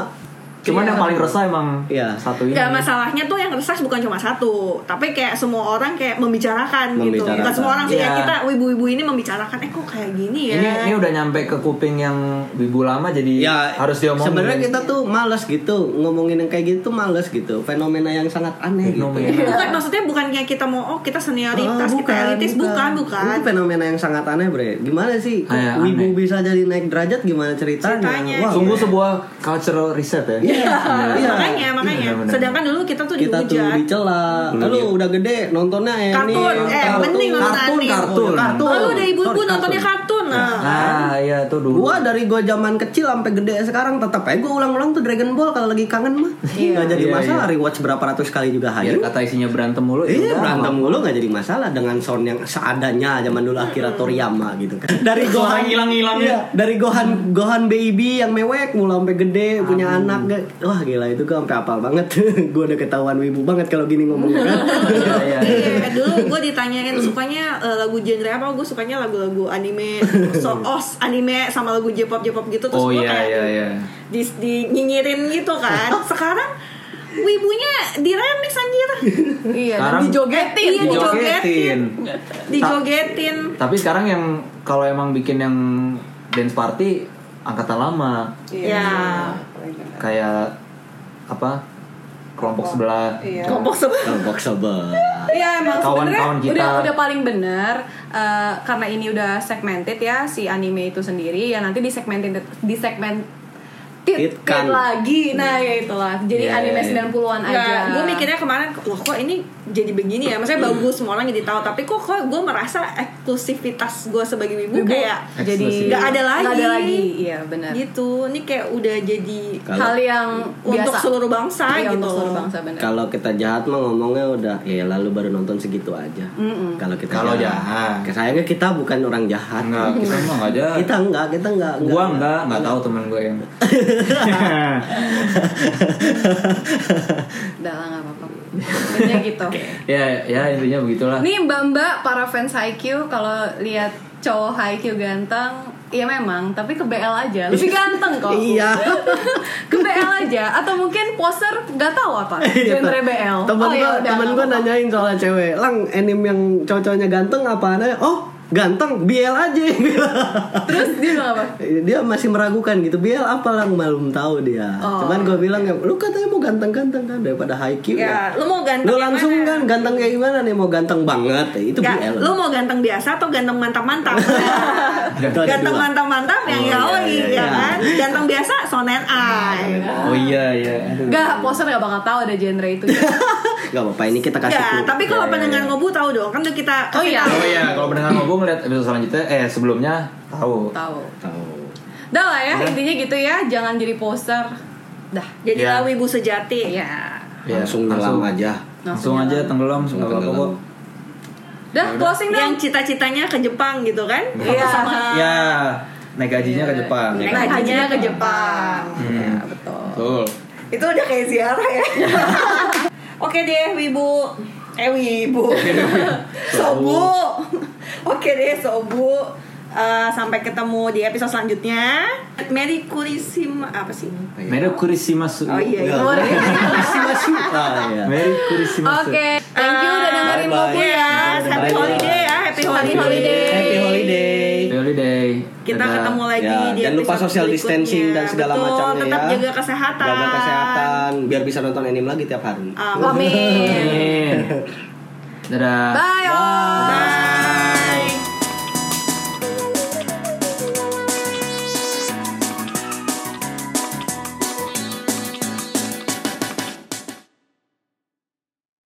S5: Cuman
S3: Iya.
S5: yang paling resah emang
S4: Iya.
S5: satu ini.
S1: Gak masalahnya tuh yang resah bukan cuma satu, tapi kayak semua orang kayak membicarakan, gitu. Bukan
S4: Membicarakan.
S1: semua orang sih ya
S5: Iya.
S1: kita wibu-wibu ini membicarakan, eh kok kayak gini ya?
S5: Ini ini udah nyampe ke kuping yang wibu lama jadi
S4: Ya,
S5: Iya, harus diomongin.
S4: Sebenarnya kita tuh males gitu ngomongin yang kayak gitu tuh males gitu. Fenomena yang sangat aneh
S5: Fenomena.
S4: gitu.
S1: Bukan maksudnya bukan kayak kita mau oh kita senioritas,
S4: Ah,
S1: kita elitis, bukan
S4: Ini
S1: bukan.
S4: fenomena yang sangat aneh bre. Gimana sih? Kok
S5: Kayak
S4: wibu
S5: aneh.
S4: bisa jadi naik derajat? Gimana ceritanya?
S1: Ceritanya.
S5: sungguh sebuah cultural reset ya.
S4: Iya.
S1: [laughs]
S4: Iya.
S1: Makanya makanya.
S5: benar-benar.
S1: Sedangkan dulu kita tuh
S4: Kita tuh
S1: dihujat.
S4: dicela.
S5: Iya.
S4: Lu udah gede nontonnya ini.
S1: Kartun, eh, mending nonton
S5: Kartun,
S1: anime.
S5: kartun.
S1: Oh, lu udah ibu-ibu
S4: Sorry,
S1: nontonnya kartun. Nah.
S5: Ah, iya tuh dulu.
S4: Gua dari gua zaman kecil sampai gede sekarang tetap aja gua ulang-ulang tuh Dragon Ball kalau lagi kangen mah. Nggak jadi
S5: Iya, kan.
S4: masalah
S5: iya.
S4: rewatch berapa ratus kali juga
S5: Biar
S4: hayu.
S5: kata isinya berantem mulu. ya
S4: Iya
S5: udah,
S4: berantem mulu nggak jadi masalah dengan sound yang seadanya zaman dulu Akira Toriyama gitu kan. Dari
S5: Suara
S4: Gohan
S5: ngilang-ngilang ya.
S4: Iya, dari Gohan Gohan baby yang mewek mulai sampai gede punya anak gak? Wah gila itu gua sampai apal banget. [laughs] gua udah ketahuan wibu banget kalau gini ngomongnya kan.
S5: [laughs] Iya, iya.
S1: Iya, dulu gue ditanyain sukanya eh, lagu genre apa, gue sukanya lagu-lagu anime, so os anime sama lagu J-pop J-pop gitu [laughs] terus
S5: Oh
S1: gue
S5: iya
S1: kayak
S5: iya iya.
S1: di, di nyinyirin gitu kan [laughs] sekarang wibunya di remix anjir
S3: iya.
S5: Sekarang-
S3: Dan dijogetin.
S1: Iya,
S5: Dijogetin.
S1: [laughs] dijogetin
S5: Tapi sekarang yang kalau emang bikin yang dance party angkatan lama
S1: ya
S5: kayak apa kelompok sebelah
S3: Iya.
S1: kelompok sebelah
S4: Kelompok sebelah.
S3: Iya emang
S5: Kawan-kawan
S3: sebenarnya
S5: kita.
S3: udah udah paling bener eh, karena ini udah segmented ya si anime itu sendiri ya nanti disegmentin disegmented
S4: Kan.
S3: lagi nah ya itulah jadi
S5: Iya,
S3: anime
S5: iya, iya.
S3: 90-an aja
S1: Nggak, gue Ya, mikirnya kemarin loh kok ini jadi begini ya maksudnya bagus semua orang jadi tahu tapi kok kok gue merasa eksklusivitas gue sebagai wibu
S3: Wibu
S1: kayak
S3: jadi
S5: eksklusif.
S1: Nggak ada lagi.
S3: nggak ada lagi iya benar
S1: gitu ini kayak udah jadi
S4: Kalau-
S3: hal yang
S1: untuk
S3: biasa.
S1: seluruh bangsa
S3: Iya,
S1: gitu
S3: untuk seluruh bangsa benar
S4: Kalau kita jahat mah ngomongnya udah ya lalu baru nonton segitu aja. Kalau kita
S5: Kalau jahat.
S4: sayangnya kita bukan orang jahat.
S5: enggak kita mah enggak ada
S4: Kita enggak, kita enggak.
S5: gua enggak enggak tahu temen gue yang
S3: udah lah nggak
S4: [laughs]
S3: apa-apa Intinya gitu
S5: ya ya intinya begitulah
S3: Nih mbak-mbak para fans IQ kalau lihat cowok IQ ganteng Iya memang, tapi ke BL aja Lebih ganteng kok
S4: Iya.
S3: [laughs] Ke BL aja Atau mungkin poster gak tahu apa Genre BL
S4: Iya, Temen
S3: Oh, ya
S4: gua,
S3: udah,
S4: temen
S3: nggak
S4: gua
S3: apa-apa.
S4: nanyain soal cewek, lang anime yang cowok-cowoknya ganteng apaan aja? Oh, ganteng BL aja [laughs]
S3: Terus dia bilang apa?
S4: dia masih meragukan gitu BL apa lah belum tahu dia
S3: Oh. Iya.
S4: cuman gue bilang "Ya, lu katanya mau ganteng-ganteng kan daripada high Q
S1: Ya, lu mau ganteng
S4: lu
S1: yang
S4: langsung
S1: mana?
S4: kan ganteng kayak gimana nih mau ganteng banget ya, itu
S1: Nggak,
S4: BL
S1: lu mau ganteng biasa atau ganteng mantap-mantap?
S4: Itu ada
S1: ganteng
S4: dua.
S1: mantap-mantap yang
S5: Oh,
S1: yaoi,
S5: iya, iya,
S1: ya
S5: iya.
S1: kan? Ganteng biasa sonen ai.
S5: Oh iya iya. Aduh.
S3: Gak, poster gak bakal tahu ada genre itu.
S4: Gak apa-apa ini kita kasih clue.
S1: Enggak, tapi kalau
S5: Iya, iya,
S1: pendengar
S5: iya.
S1: ngobu tahu dong, kan udah kita
S3: Oh iya.
S5: Oh iya, kalau pendengar mau gue ngeliat episode selanjutnya, eh sebelumnya tahu.
S3: Tahu.
S4: Tahu.
S3: Dah lah ya,
S5: Udah.
S3: intinya gitu ya. Jangan jadi poster. Dah.
S1: Jadi
S5: Iya.
S1: wibu sejati.
S3: Ya.
S5: Iya,
S4: langsung nyelam aja
S5: Langsung aja tenggelam,
S4: Langsung
S5: nggak apa-apa kok.
S4: tenggelam.
S3: Dah, closing dong.
S1: Yang cita-citanya ke Jepang gitu kan?
S3: Iya.
S5: Ya, naik gajinya ke Jepang. Hmm.
S1: Naik
S3: Naik
S1: hajinya
S3: hajinya
S1: Nah, ke Jepang.
S3: Ya, betul.
S5: Betul.
S1: Itu udah kayak ziarah ya. [laughs] Oke deh, Wibu. Eh, Wibu. sobu. Oke deh, Sobu. Eh, sampai ketemu di episode selanjutnya. Merry Kurisima apa sih?
S5: Merry Kurisimasu.
S1: Oh iya, iya.
S3: Oh, udah.
S1: [laughs]
S4: Masih ah, iya.
S5: Merry Kurisimasu.
S3: Oke, thank you udah dengerin
S4: Bye-bye.
S3: Mobu ya.
S1: Happy holiday ya, happy
S3: Happy
S1: holiday.
S3: holiday.
S4: Happy holiday
S5: Happy holiday.
S1: Kita
S5: Dadah.
S1: ketemu lagi
S4: Ya,
S1: di
S4: jangan lupa
S1: episode
S4: social
S1: berikutnya.
S4: distancing dan segala
S1: Betul,
S4: macamnya
S1: tetap
S4: ya.
S1: jaga kesehatan.
S4: Jaga kesehatan biar bisa nonton anime lagi tiap hari.
S1: Ah,
S3: Amin.
S5: Amin. Dadah.
S3: Bye. all.
S1: Bye.